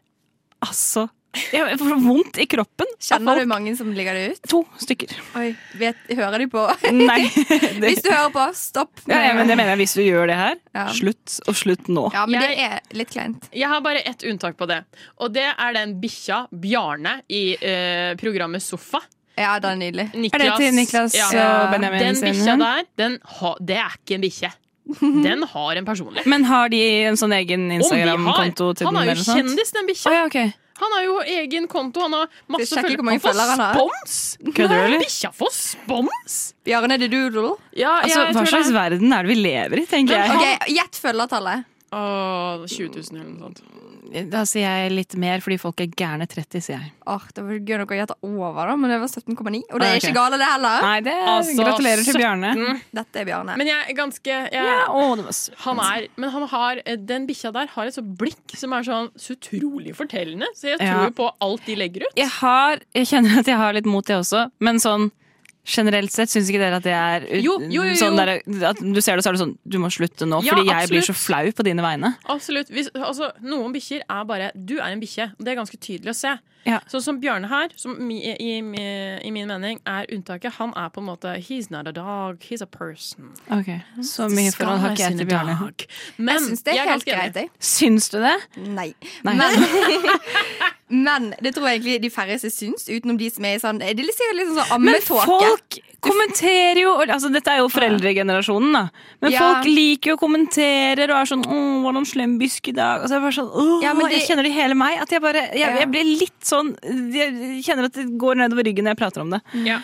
F: altså Jeg får vondt i kroppen.
G: Kjenner du mange som ligger det ut?
F: To stykker.
G: Oi, vet, Hører de på?
F: Nei. Det,
G: Hvis du hører på, stopp.
F: ja, ja, men det mener jeg hvis du gjør det her.
G: Ja.
F: Slutt, og slutt nå.
G: Ja, men
E: Jeg-
G: det er litt kleint.
E: Jeg har bare ett unntak på det, og det er den bikkja Bjarne i eh, programmet Sofa.
G: Ja, det er nydelig.
E: Niklas,
F: Er det til Niklas
E: Ja.
F: og Benjamin
E: Den
F: sin
E: bikkja
F: hund?
E: der, den ha, det er ikke en bikkje. Den har en personlighet.
F: Men har de en sånn egen
E: Om de har!
F: Instagram-konto til
E: Han
F: den?
E: er
F: eller
E: jo
F: noe sånt?
E: kjendis, den
F: Å
E: bikkja.
F: ja, ok.
E: Han har jo egen konto. Han har masse
G: sjekke
E: følgere.
G: hvor mange
E: Han får
G: følgere han har.
E: spons!
F: Kødder du, eller?
E: Bikkja får spons!
G: Bjarne the Doodle.
E: Ja,
F: Altså, hva slags verden er det vi lever i, tenker jeg.
G: Ok, Gjett følgertallet.
E: Å, 20 000 eller noe sånt.
F: Da sier jeg litt mer, fordi folk er gærne 30, sier jeg.
G: Åh, det var gøy nok å gjette over, da, men det var 17,9. Og det
F: Ah,
G: er
F: ok.
G: ikke gale, det heller.
F: Nei, det
E: Altså,
F: Gratulerer til Bjarne.
G: Dette er Bjarne.
E: Men jeg er ganske jeg,
F: Ja, å, det var søtt.
E: Han er, men han har, eh, den bikkja der har et sånt blikk som er sånn så utrolig fortellende. Så jeg
F: Ja.
E: tror jo på alt de legger ut.
F: jeg, har, jeg kjenner at jeg har litt mot det også, men sånn generelt sett syns ikke dere at det er ut-
E: Jo, jo, jo, jo.
F: sånn der, at du ser det, så er det sånn Du må slutte nå,
E: Ja,
F: fordi jeg blir
E: absolutt.
F: så flau på dine vegne.
E: Absolutt. Hvis, altså, noen bikkjer er bare Du er en bikkje. og Det er ganske tydelig å se.
F: Ja.
E: Sånn som Bjarne her, som mi, i, i, i min mening er unntaket. Han er på en måte He's not a dog, he's a person.
F: Så mye
E: Skal
F: forhold har
E: være
F: ikke jeg til
E: sin
F: Bjarne.
E: dag. Men
G: jeg syns det
E: jeg
G: er helt
E: ganske enig.
G: greit. Jeg.
F: Syns du det?
G: Nei.
F: Nei.
G: Men, men det tror jeg egentlig de færreste syns, utenom de som er i sånn Det er litt sikkert litt sånn
F: Men
G: ammetåke.
F: folk kommenterer jo og- altså Dette er jo foreldregenerasjonen, da. Men
G: Ja.
F: folk liker jo og kommenterer og er sånn 'Å, var det en slem busk i dag?' Og så er jeg bare sånn Åh,
G: Ja, men
F: Jeg
G: det-
F: kjenner det i hele meg. At jeg bare Jeg,
G: Ja.
F: jeg blir litt sånn Jeg kjenner at det går nedover ryggen når jeg prater om det.
E: Ja.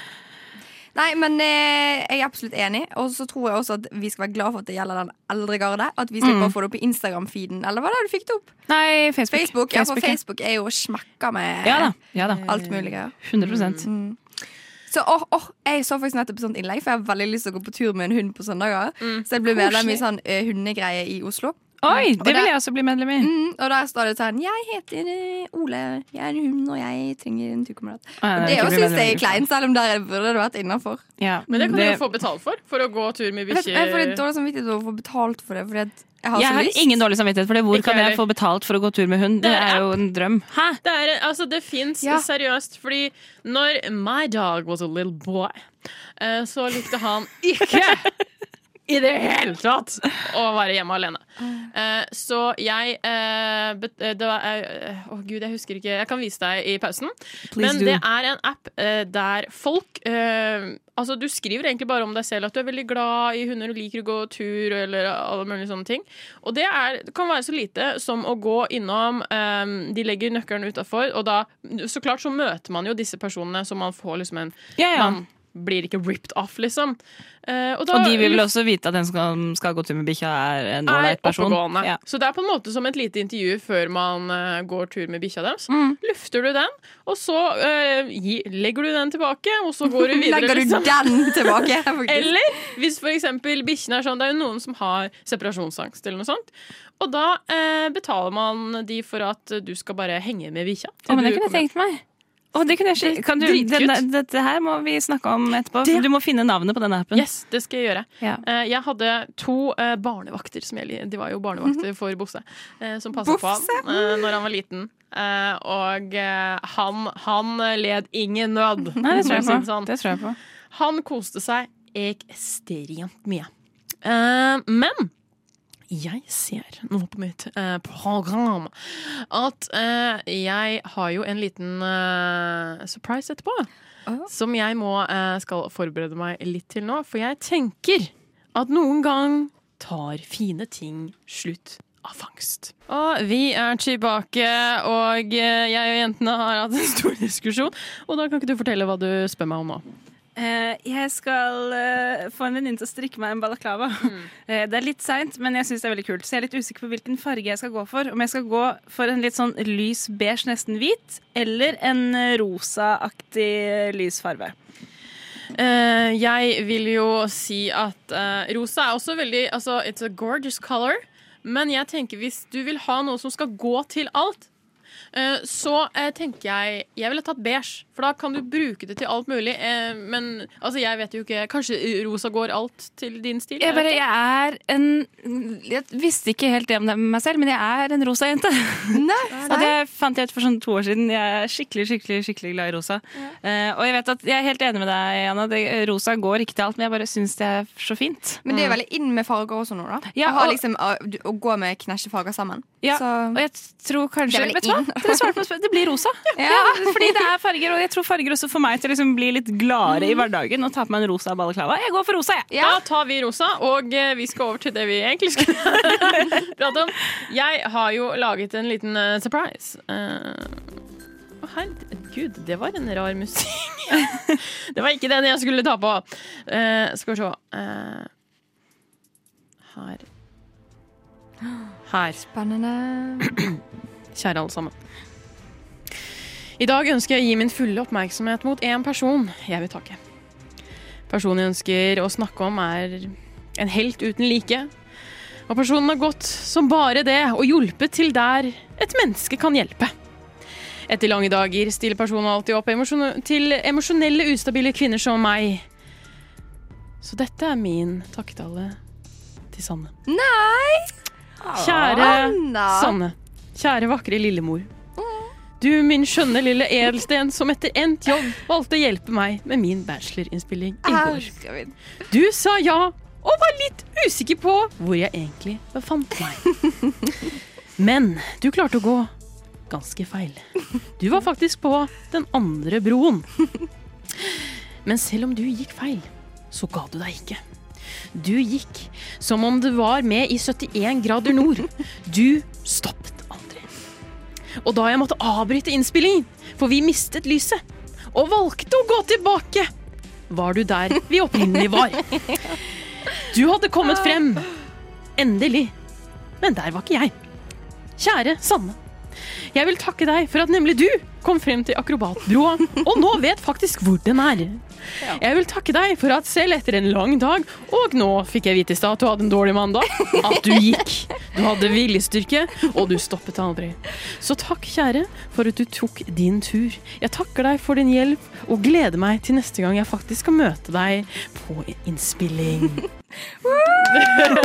G: Nei, men eh, jeg er absolutt enig. Og så tror jeg også at vi skal være glad for at det gjelder den eldre garde. At vi
F: Mm.
G: slipper å få det opp i Instagram-feeden. Eller hva var det du fikk det opp?
F: Nei, Facebook.
G: Facebook. Ja, for
F: ja.
G: Facebook er jo smekka med
F: Ja da. Ja da.
G: alt mulig greier.
F: 100
G: Mm, Så åh, åh, jeg så faktisk nettopp et sånt innlegg, for jeg har veldig lyst til å gå på tur med en hund på søndager. Så jeg ble medlem i sånn eh, hundegreie i Oslo.
F: Oi,
G: Og
F: det vil
G: det-
F: jeg også bli medlem i.
G: Mm, og der står det sånn Jeg heter eh, Ole, jeg er en hund, og jeg trenger en turkamerat.
F: Å, ja,
G: Og
F: det
G: det
F: vil ikke bli
G: syns jeg er
F: medlem i.
G: kleint, selv om der burde det vært innafor.
F: Ja.
E: Men det kan
F: Det-
E: dere få betalt for, for å gå tur med
G: Jeg vet- jeg får litt
E: bikkjer.
G: dårlig samvittighet over å få betalt for det, fordi at jeg har
F: Jeg
G: så
F: har
G: lyst.
F: ingen dårlig samvittighet for det. Hvor
E: Ikke
F: kan jeg
E: heller.
F: få betalt for å gå tur med hund? Det
E: Det er
F: er jo en drøm. Hæ?
E: Det, er, altså, det fins
G: Ja.
E: seriøst, fordi når my dog was a little boy, eh, så likte han ikke i det hele tatt å være hjemme alene. Eh, Så jeg eh, bet- eh, det var, eh, Å, gud, jeg husker ikke. Jeg kan vise deg i pausen.
F: Please
E: Men
F: do.
E: det er en app eh, der folk eh, Altså, du skriver egentlig bare om deg selv at du er veldig glad i hunder og liker å gå tur eller alle mulige sånne ting. Og det, er, det kan være så lite som å gå innom eh, De legger nøkkelen utafor, og da Så klart så møter man jo disse personene, så man får liksom en
F: Ja, ja.
E: Man blir ikke ripped off, liksom. Eh, og, da,
F: Og de vil vel også vite at den som skal gå tur med bikkja, er en
E: er
F: ålreit person.
E: oppegående.
F: Ja.
E: Så det er på en måte som et lite intervju før man eh, går tur med bikkja deres.
F: Mm.
E: Lufter du den, og så eh, gi, legger du den tilbake, og så går du videre.
G: Legger du
E: liksom.
G: den tilbake? faktisk?
E: Eller hvis for eksempel bikkjene er sånn, det er jo noen som har separasjonsangst eller noe sånt. Og da eh, betaler man de for at du skal bare henge med bikkja. til
F: Å, men det
E: du
F: kunne jeg
E: kommer-
F: tenkt meg. Å, det kunne jeg ikke. Kan du,
E: Dritkult.
F: den, dette her må vi snakke om etterpå. for Du må finne navnet på den appen.
E: Yes, det skal jeg gjøre.
F: Ja.
E: Eh, jeg hadde to eh, barnevakter som jeg, li- De var jo barnevakter for Bosse, eh, som passet på
G: Bofse?
E: han eh, når han var liten. Eh, og eh, han, han led ingen nød.
F: Nei, det
E: for å
F: tror jeg
E: si
F: på.
E: det sånn.
F: Det tror jeg på.
E: Han koste seg ekstremt mye. Eh, men jeg ser nå på mitt eh, program at eh, jeg har jo en liten eh, surprise etterpå.
G: Åh.
E: Som jeg må, eh, skal forberede meg litt til nå. For jeg tenker at noen gang tar fine ting slutt. av Fangst. Og vi er tilbake, og eh, jeg og jentene har hatt en stor diskusjon. Og da kan ikke du fortelle hva du spør meg om nå?
F: Eh, jeg skal eh, få en venninne til å strikke meg en balaklava.
E: Hmm.
F: Eh, det er litt seint, men jeg syns det er veldig kult. Så jeg er litt usikker på hvilken farge jeg skal gå for. Om jeg skal gå for en litt sånn lys beige, nesten hvit, eller en eh, rosaaktig eh, lys farge.
E: Eh, jeg vil jo si at eh, rosa er også veldig altså, It's a gorgeous color. Men jeg tenker hvis du vil ha noe som skal gå til alt, eh, så eh, tenker jeg Jeg ville tatt beige, for da kan du bruke det til alt mulig. eh, men altså, jeg vet jo ikke Kanskje rosa går alt til din stil?
F: Jeg,
E: jeg vet
F: bare, jeg er en Jeg visste ikke helt det om det med meg selv, men jeg er en rosa jente.
G: Nei,
F: Og
G: nei.
F: det fant jeg ut for sånn to år siden. Jeg er skikkelig skikkelig, skikkelig glad i rosa. Eh, og jeg vet at jeg er helt enig med deg, Anna. Det, rosa går ikke til alt, men jeg bare syns det er så fint.
G: Men det er veldig inn med farger også nå, da.
F: Mm. Ja,
G: å, ha
F: og-
G: liksom, å, du- å gå med knæsjefarger sammen.
F: Ja,
G: Så
F: og jeg tror
G: det
F: kanskje
G: er
F: Vet
G: veldig
F: du hva?
G: inn
F: Dere svarte på spørsmålet. Det blir rosa. Ja, fordi det er farger, og jeg tror farger også får meg til å liksom bli litt gladere i
G: Mm.
F: hverdagen og ta på meg en rosa balaklava. Jeg går for rosa, jeg.
E: Da tar vi rosa, og eh, vi skal over til det vi egentlig skulle prate om. Jeg har jo laget en liten eh, surprise. Eh, Å, herregud, det var en rar musikk. det var ikke den jeg skulle ta på. Eh, skal vi se Eh, Her. Her.
G: Spennende.
E: Kjære alle sammen. I dag ønsker jeg å gi min fulle oppmerksomhet mot én person jeg vil takke. Personen jeg ønsker å snakke om, er en helt uten like. Og personen har gått som bare det og hjulpet til der et menneske kan hjelpe. Etter lange dager stiller personen alltid opp emosjon- til emosjonelle, ustabile kvinner som meg. Så dette er min takketale til Sanne.
G: Nei!
E: Kjære
G: Anna.
E: Sanne. Kjære, vakre lillemor. Du, min skjønne lille edelsten, som etter endt jobb valgte å hjelpe meg med min bachelorinnspilling i går.
G: Herre min.
E: Du sa ja, og var litt usikker på hvor jeg egentlig befant meg. Men du klarte å gå ganske feil. Du var faktisk på den andre broen. Men selv om du gikk feil, så ga du deg ikke. Du gikk som om du var med i 71 grader nord. Du stoppet aldri. Og da jeg måtte avbryte innspillingen, for vi mistet lyset, og valgte å gå tilbake, var du der vi opprinnelig var. Du hadde kommet frem. Endelig. Men der var ikke jeg. Kjære Sanne. Jeg vil takke deg for at nemlig du kom frem til akrobatbroa, og nå vet faktisk hvor den er. Jeg vil takke deg for at selv etter en lang dag, og nå fikk jeg vite i stad at du hadde en dårlig mandag, at du gikk. Du hadde viljestyrke, og du stoppet aldri. Så takk, kjære, for at du tok din tur. Jeg takker deg for din hjelp, og gleder meg til neste gang jeg faktisk skal møte deg på innspilling.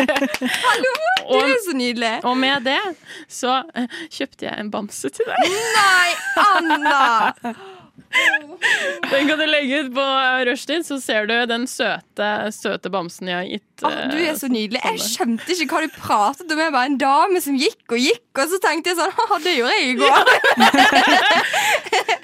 G: Det
E: Og
G: er så nydelig.
E: og med det så eh, kjøpte jeg en bamse til deg.
G: Nei, Anna!
E: Den kan du legge ut på eh, rushtid, så ser du den søte, søte bamsen jeg har gitt.
G: Å, du er
E: eh,
G: så nydelig. Jeg skjønte ikke hva du pratet om. Jeg bare en dame som gikk og gikk, og så tenkte jeg sånn Ha, det gjorde jeg i går.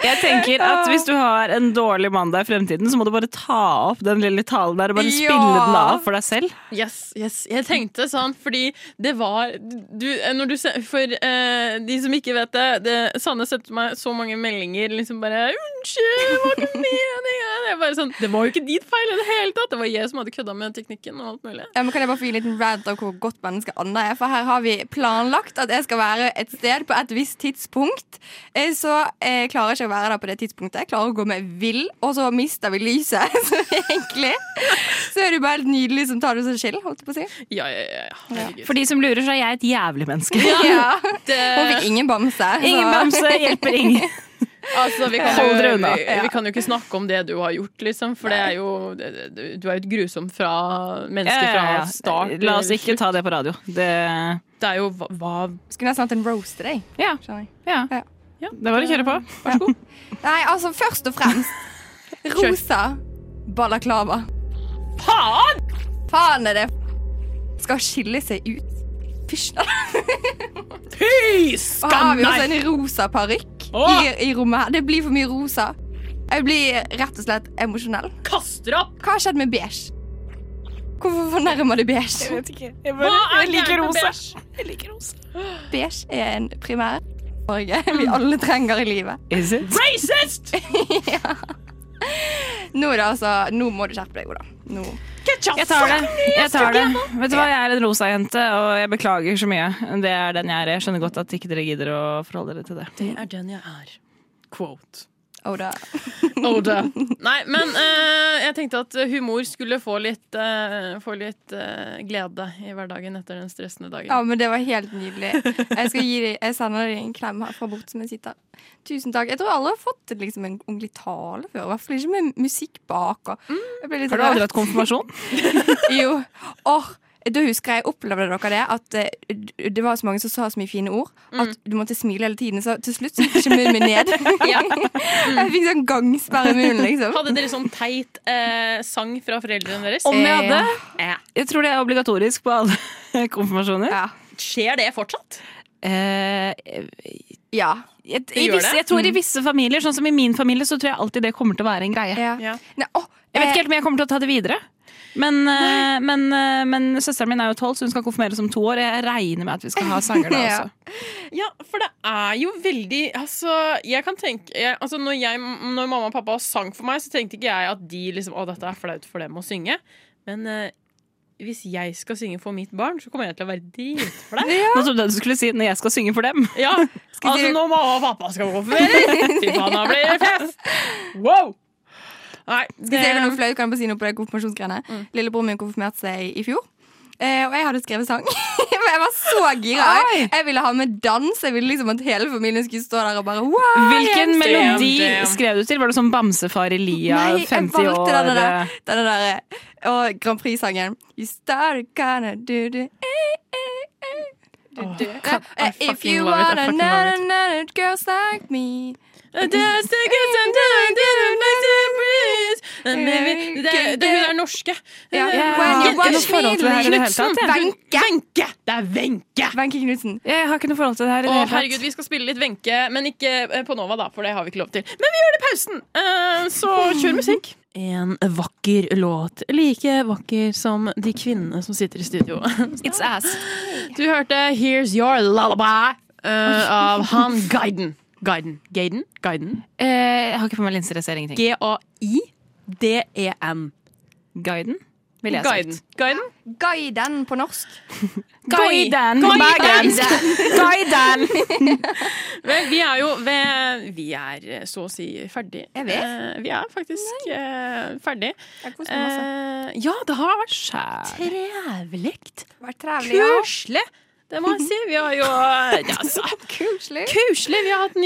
F: Jeg tenker at Hvis du har en dårlig mandag i fremtiden, så må du bare ta opp den lille talen der og bare
G: Ja.
F: spille den av for deg selv.
E: Yes, yes. Jeg tenkte sånn, fordi det var du, eh, når du, se- For eh, de som ikke vet det, det Sanne sendte meg så mange meldinger liksom bare 'Unnskyld, det var ikke meningen!' Jeg bare sånn, det var jo ikke din feil i det hele tatt! Det var jeg som hadde kødda med teknikken og alt mulig.
G: Ja, men kan jeg bare få gi en liten rant om hvor godt menneske Anna er? For her har vi planlagt at jeg skal være et sted på et visst tidspunkt. Eh, Så jeg klarer ikke å være der på det tidspunktet. Jeg klarer å gå meg vill, og så mister vi lyset. Så egentlig så er du bare helt nydelig som tar det som skill, holdt jeg på å si.
E: Ja, ja, ja. ja. Herregud.
F: For de som lurer, så er jeg et jævlig menneske.
G: Ja. Hun
E: det,
G: fikk ingen bamse. så-
F: Ingen bamse hjelper ingen.
E: altså, vi, kan
F: Hold dere
E: jo,
F: unna.
E: vi, vi kan jo ikke snakke om det du har gjort, liksom, for det er jo det, det, Du er jo et grusomt fra menneske
F: Ja, ja, ja.
E: fra start.
F: La oss
E: til
F: ikke
E: slutt.
F: ta det på radio. Det,
E: Det er jo hva, hva
G: Skulle nesten hatt en roast til deg.
F: ja,
G: skjønner jeg.
F: ja.
G: Ja.
F: det var å kjøre på. Vær så god.
G: Nei, altså først og fremst Rosa balaklava.
E: Faen!
G: Faen er det Skal skille seg ut. Fysj. da.
E: Fy
G: Og her har
F: Ah,
E: skam
G: vi også
E: deg!
G: en rosa parykk
E: Åh!
G: i, i rommet her. Det blir for mye rosa. Jeg blir rett og slett emosjonell.
E: Kaster opp!
G: Hva har skjedd med beige? Hvorfor fornærmer det beige?
F: Jeg,
E: Hva er
F: liker
E: gærent med
F: rosa.
E: beige?
F: Jeg liker rosa.
G: Beige er en primær farge vi alle trenger i livet.
F: Is it?
E: Racist!
G: Nå, er det altså, nå må du skjerpe deg, Oda. Nå.
E: Ketchup!
F: Jeg tar det. Jeg tar det. Vet du hva, jeg er en rosa jente, og jeg beklager så mye. Det er den jeg er. Jeg skjønner godt at ikke dere gidder å forholde dere til det.
E: Det er den jeg er. Quote.
G: Oda.
E: Nei, men eh, jeg tenkte at humor skulle få litt, eh, få litt eh, glede i hverdagen etter den stressende dagen.
G: Ja, men det var helt nydelig. Jeg, skal gi deg, jeg sender deg en klem her fra bort som jeg sitter. Tusen takk. Jeg tror aldri jeg har fått liksom, en ordentlig tale før. I hvert fall ikke med musikk bak. Og. Jeg ble litt
F: Mm.
G: sånn
F: Har du aldri hatt konfirmasjon?
G: Jo. Åh, da husker jeg opplevde dere det, at eh, d- det var så mange som sa så mye fine ord
F: Mm.
G: at du måtte smile hele tiden. Så til slutt så gikk ikke munnen min ned. Jeg fikk sånn gangsperre i munnen, liksom.
E: Hadde dere sånn teit eh, sang fra foreldrene deres?
F: Om jeg hadde?
E: Eh,
F: Jeg tror det er obligatorisk på alle konfirmasjoner.
G: Ja.
E: skjer det fortsatt?
F: Eh,
G: ja.
F: jeg,
E: Det
F: i
E: gjør
F: visse,
E: det?
F: jeg tror i visse familier, sånn som i min familie, så tror jeg alltid det kommer til å være en greie.
G: Ja.
E: Ja.
G: Nei, åh,
F: Jeg vet
G: eh,
F: ikke helt om jeg kommer til å ta det videre. Men, eh, men, eh, men søsteren min er jo tolv, så hun skal konfirmeres om to år. Jeg regner med at vi skal ha sanger da
G: Ja.
F: også.
E: Ja, for det er jo veldig Altså, jeg kan tenke jeg, altså når, jeg, når mamma og pappa sang for meg, så tenkte ikke jeg at de liksom Å, dette er flaut for dem å synge. Men eh, hvis jeg skal synge for mitt barn, så kommer jeg til å være dritflau.
F: Nå trodde jeg du skulle si når jeg skal synge for dem.
E: Ja,
G: si
E: altså
G: det-
E: når mamma og pappa skal gå for ferie! Fy faen, da blir det fest! Wow! Eh, Nei,
G: Hvis
E: det
G: jeg vil noe flaut, kan jeg bare si noe på det konfirmasjonsgreiene.
E: Mm.
G: Lillebror min konfirmerte seg i fjor. Eh, og jeg hadde skrevet sang. Men jeg var så gira. Jeg- Jeg ville ha med dans. Jeg ville liksom at hele familien skulle stå der og bare wow!
F: Hvilken
E: Damn,
F: melodi
E: damn.
F: skrev du til? Var det sånn Bamsefar Elia,
G: Nei, jeg
F: 50
G: valgte
F: år?
G: denne der. Denne der eh, og Grand Prix-sangen. You started kinda do do eh, eh, eh, do, do.
E: kan- I
G: Eh, If
E: fucking
G: you
E: love it, I
G: wanna
E: fucking
G: na
E: love
G: na na girls like me
E: Eh, eh, Det er- det- Hun er norske. Eh,
G: Ja.
F: When you
E: Jentene
F: watch
E: får lov til det her i det hele tatt, ja.
G: Knutsen. Wenche.
E: Wenche! Det er Wenche!
G: Wenche Knutsen.
F: Jeg har ikke noe forhold til det her. i
E: Å,
F: det hele tatt.
E: herregud, vi skal spille litt Wenche, men ikke eh, på Nova, da, for det har vi ikke lov til. Men vi gjør det i pausen! Eh, Så kjør musikk. En vakker låt. Like vakker som de kvinnene som sitter i studio.
F: It's ass.
E: Du hørte Here's Your Lullaby eh, av han Guiden. Guiden. Gaiden? Guiden.
F: Eh, jeg har ikke på meg linser, jeg ser ingenting.
E: G-a-i-d-e-n.
F: Guiden? Vil jeg ha
E: Guiden.
F: sagt.
E: Guiden.
G: Guiden på norsk.
F: Guiden! Guiden!
E: Vel, vi er jo ved, vi er eh, så å si ferdig.
G: Er vi?
E: Eh, vi er faktisk eh, ferdig.
G: Jeg koser meg masse.
E: Eh, ja, det har vært
F: Skjær.
E: trevelig.
G: Vært trevelig, ja.
E: Kuselig. Det må jeg si. Vi har jo eh, ja, altså,
G: Kuselig.
E: Kuselig. Vi har hatt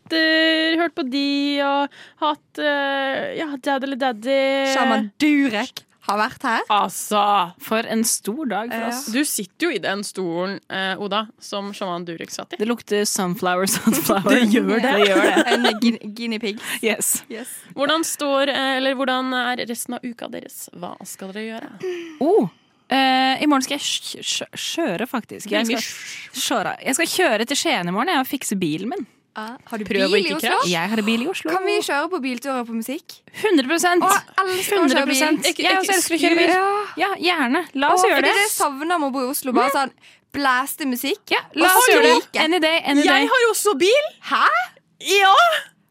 E: nyheter, hørt på de og hatt eh, ja, Dad eller Daddy.
G: Sjaman Durek har vært her.
E: Altså,
F: For en stor dag for
G: Ja.
F: oss.
E: Du sitter jo i den stolen, eh, Oda, som sjaman Durek satt i.
F: Det lukter sunflower, sunflower. Det gjør det.
G: En guin- guinea pig.
F: Yes.
G: Yes.
E: Hvordan står, eh, eller hvordan er resten av uka deres? Hva skal dere gjøre?
F: Oh. eh, I morgen skal jeg kj- kj- kjøre, faktisk. Jeg skal, kjøre. jeg skal kjøre til Skien i morgen jeg, og fikse bilen min.
G: Ah, Har du
E: Prøv å
G: bil i
E: ikke
G: Oslo?
E: krasje.
F: Jeg har bil i Oslo.
G: Kan vi kjøre på bilturer på musikk?
F: 100
G: Å, jeg elsker å kjøre bil.
F: 100 Jeg også elsker å kjøre bil.
G: Ja.
F: Ja, gjerne. La oss
G: Å,
F: gjøre
G: fordi
F: det.
G: jeg savner med å bo i Oslo. Bare sånn blæste musikk.
F: Ja, la
G: Og
F: oss gjøre det.
G: skrike.
F: Any day, any day.
E: har også bil!
G: Hæ?
E: Ja!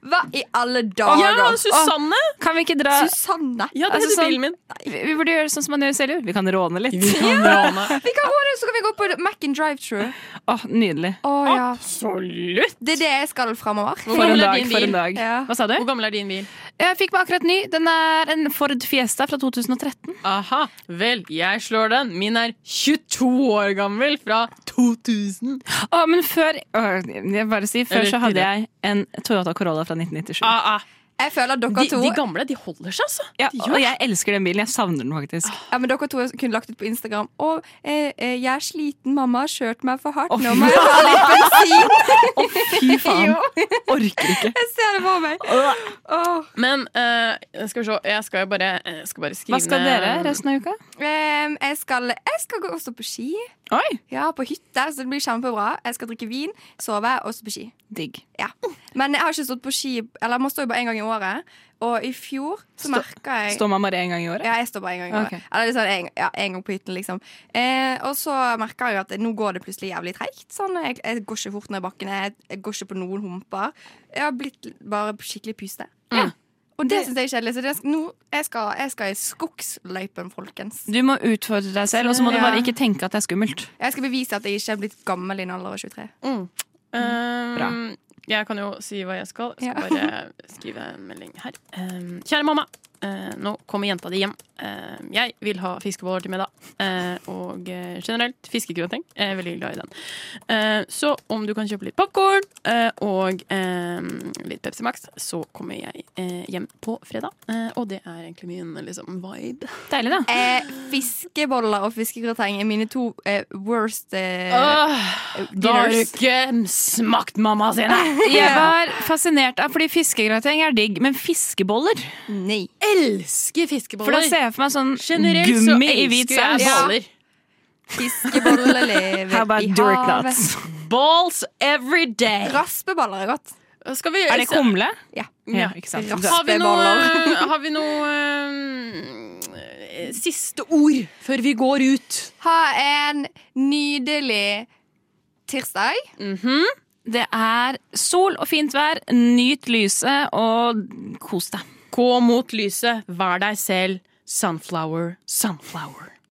G: Hva i alle
E: Ah,
G: dager?
E: ja Susanne!
F: Kan vi ikke dra
G: Susanne.
E: Ja, det
F: Altså,
E: heter
F: sånn-
E: bilen min.
F: Vi vi burde gjøre sånn som man gjør i Seljord. Vi kan råne litt.
G: Vi kan råde, så kan vi gå på Mac and drive-thru.
F: Åh, Nydelig.
G: Å ja.
E: Absolutt!
G: Det er det jeg skal framover.
E: Hvor
F: For en
E: gammel er
F: dag.
E: din
F: for en
E: bil?
F: dag
G: Ja.
F: Hva sa du?
E: Hvor gammel er din bil?
F: Jeg fikk meg akkurat ny. Den er en Ford Fiesta fra 2013.
E: Aha, vel, jeg slår den. Min er 22 år gammel, fra 2000.
F: Å, men før Åh, jeg bare si, Før
E: Eller
F: så hadde
E: tidligere.
F: jeg en Toyota Corolla fra 1997.
E: Ah, ah.
G: Jeg føler at dere
E: De,
G: to
E: de gamle de holder seg, altså.
F: ja,
E: de
F: og jeg elsker den bilen. Jeg savner den faktisk.
G: Ja, men dere to kunne lagt ut på Instagram Å, eh, eh, jeg er sliten, mamma har kjørt meg for hardt
F: Å,
G: Nå må jeg ta litt bensin
F: Ah, Fy faen. Orker ikke.
G: Jeg ser det for meg Åh.
E: Men eh, skal vi se, jeg skal jo bare, jeg skal bare skrive
F: Hva skal
E: ned-
F: dere resten av uka?
G: Em, jeg, skal, jeg skal gå også på ski
F: Oi,
G: Ja, på hytte, så det blir kjempebra Jeg skal drikke vin, sove og stå på ski
F: digg.
G: ja. Men jeg har ikke stått på ski Eller jeg må stå jo bare en gang i året Og i fjor så merket jeg
F: Står man bare én gang i året?
G: Ja, jeg står bare en gang i året.
F: Ok.
G: Eller liksom en, ja, en gang på hytten, liksom. Eh, og så merker jeg jo at nå går det plutselig jævlig treigt. Sånn, jeg, jeg går ikke fort ned bakkene, jeg, jeg går ikke på noen humper. Jeg har blitt bare skikkelig pyste.
F: Mm.
E: Ja.
G: Og det syns jeg er kjedelig. Så det, nå, jeg, skal, jeg skal i skogsløypen, folkens.
F: Du må utfordre deg selv, og så må du
G: Ja.
F: bare ikke tenke at det er skummelt.
G: Jeg skal bevise at jeg ikke er blitt gammel innen alder av 23.
E: Um,
F: Bra.
E: Jeg kan jo si hva jeg skal. Jeg skal bare skrive en melding her. Um, kjære mamma. eh, nå kommer jenta di hjem. Eh, jeg vil ha fiskeboller til middag. Eh, og eh, generelt fiskegrøting. Jeg er veldig glad i den. Eh, så om du kan kjøpe litt popkorn og eh, litt Pepsi Max, så kommer jeg eh, hjem på fredag. Eh, og det er egentlig min liksom, vibe.
F: Deilig, da.
G: Eh, fiskeboller og fiskegrateng er mine to eh, worst eh,
E: da har du
G: dinners.
E: ikke smakt mamma sine!
F: Jeg var fascinert av, fordi fiskegrateng er digg, men fiskeboller
G: Nei.
E: Elsker
F: For da
E: fiskeboller!
F: ser jeg for meg sånn
E: Generelt så
F: gummi i hvit
E: elsker jeg
F: saus.
G: Ja.
E: boller.
G: Fiskeboller lever i
F: How about
G: havet.
F: dirt nuts? balls every day.
G: Raspeballer er godt.
E: Skal vi
F: Er det kumle?
G: Ja.
F: Ja, ikke sant.
E: Har vi noe,
G: Raspeballer.
E: har vi noe eh, siste ord før vi går ut?
G: Ha en nydelig tirsdag.
F: Mhm. Det er sol og fint vær. Nyt lyset og kos deg.
E: Gå mot lyset, vær deg selv. Sunflower, sunflower.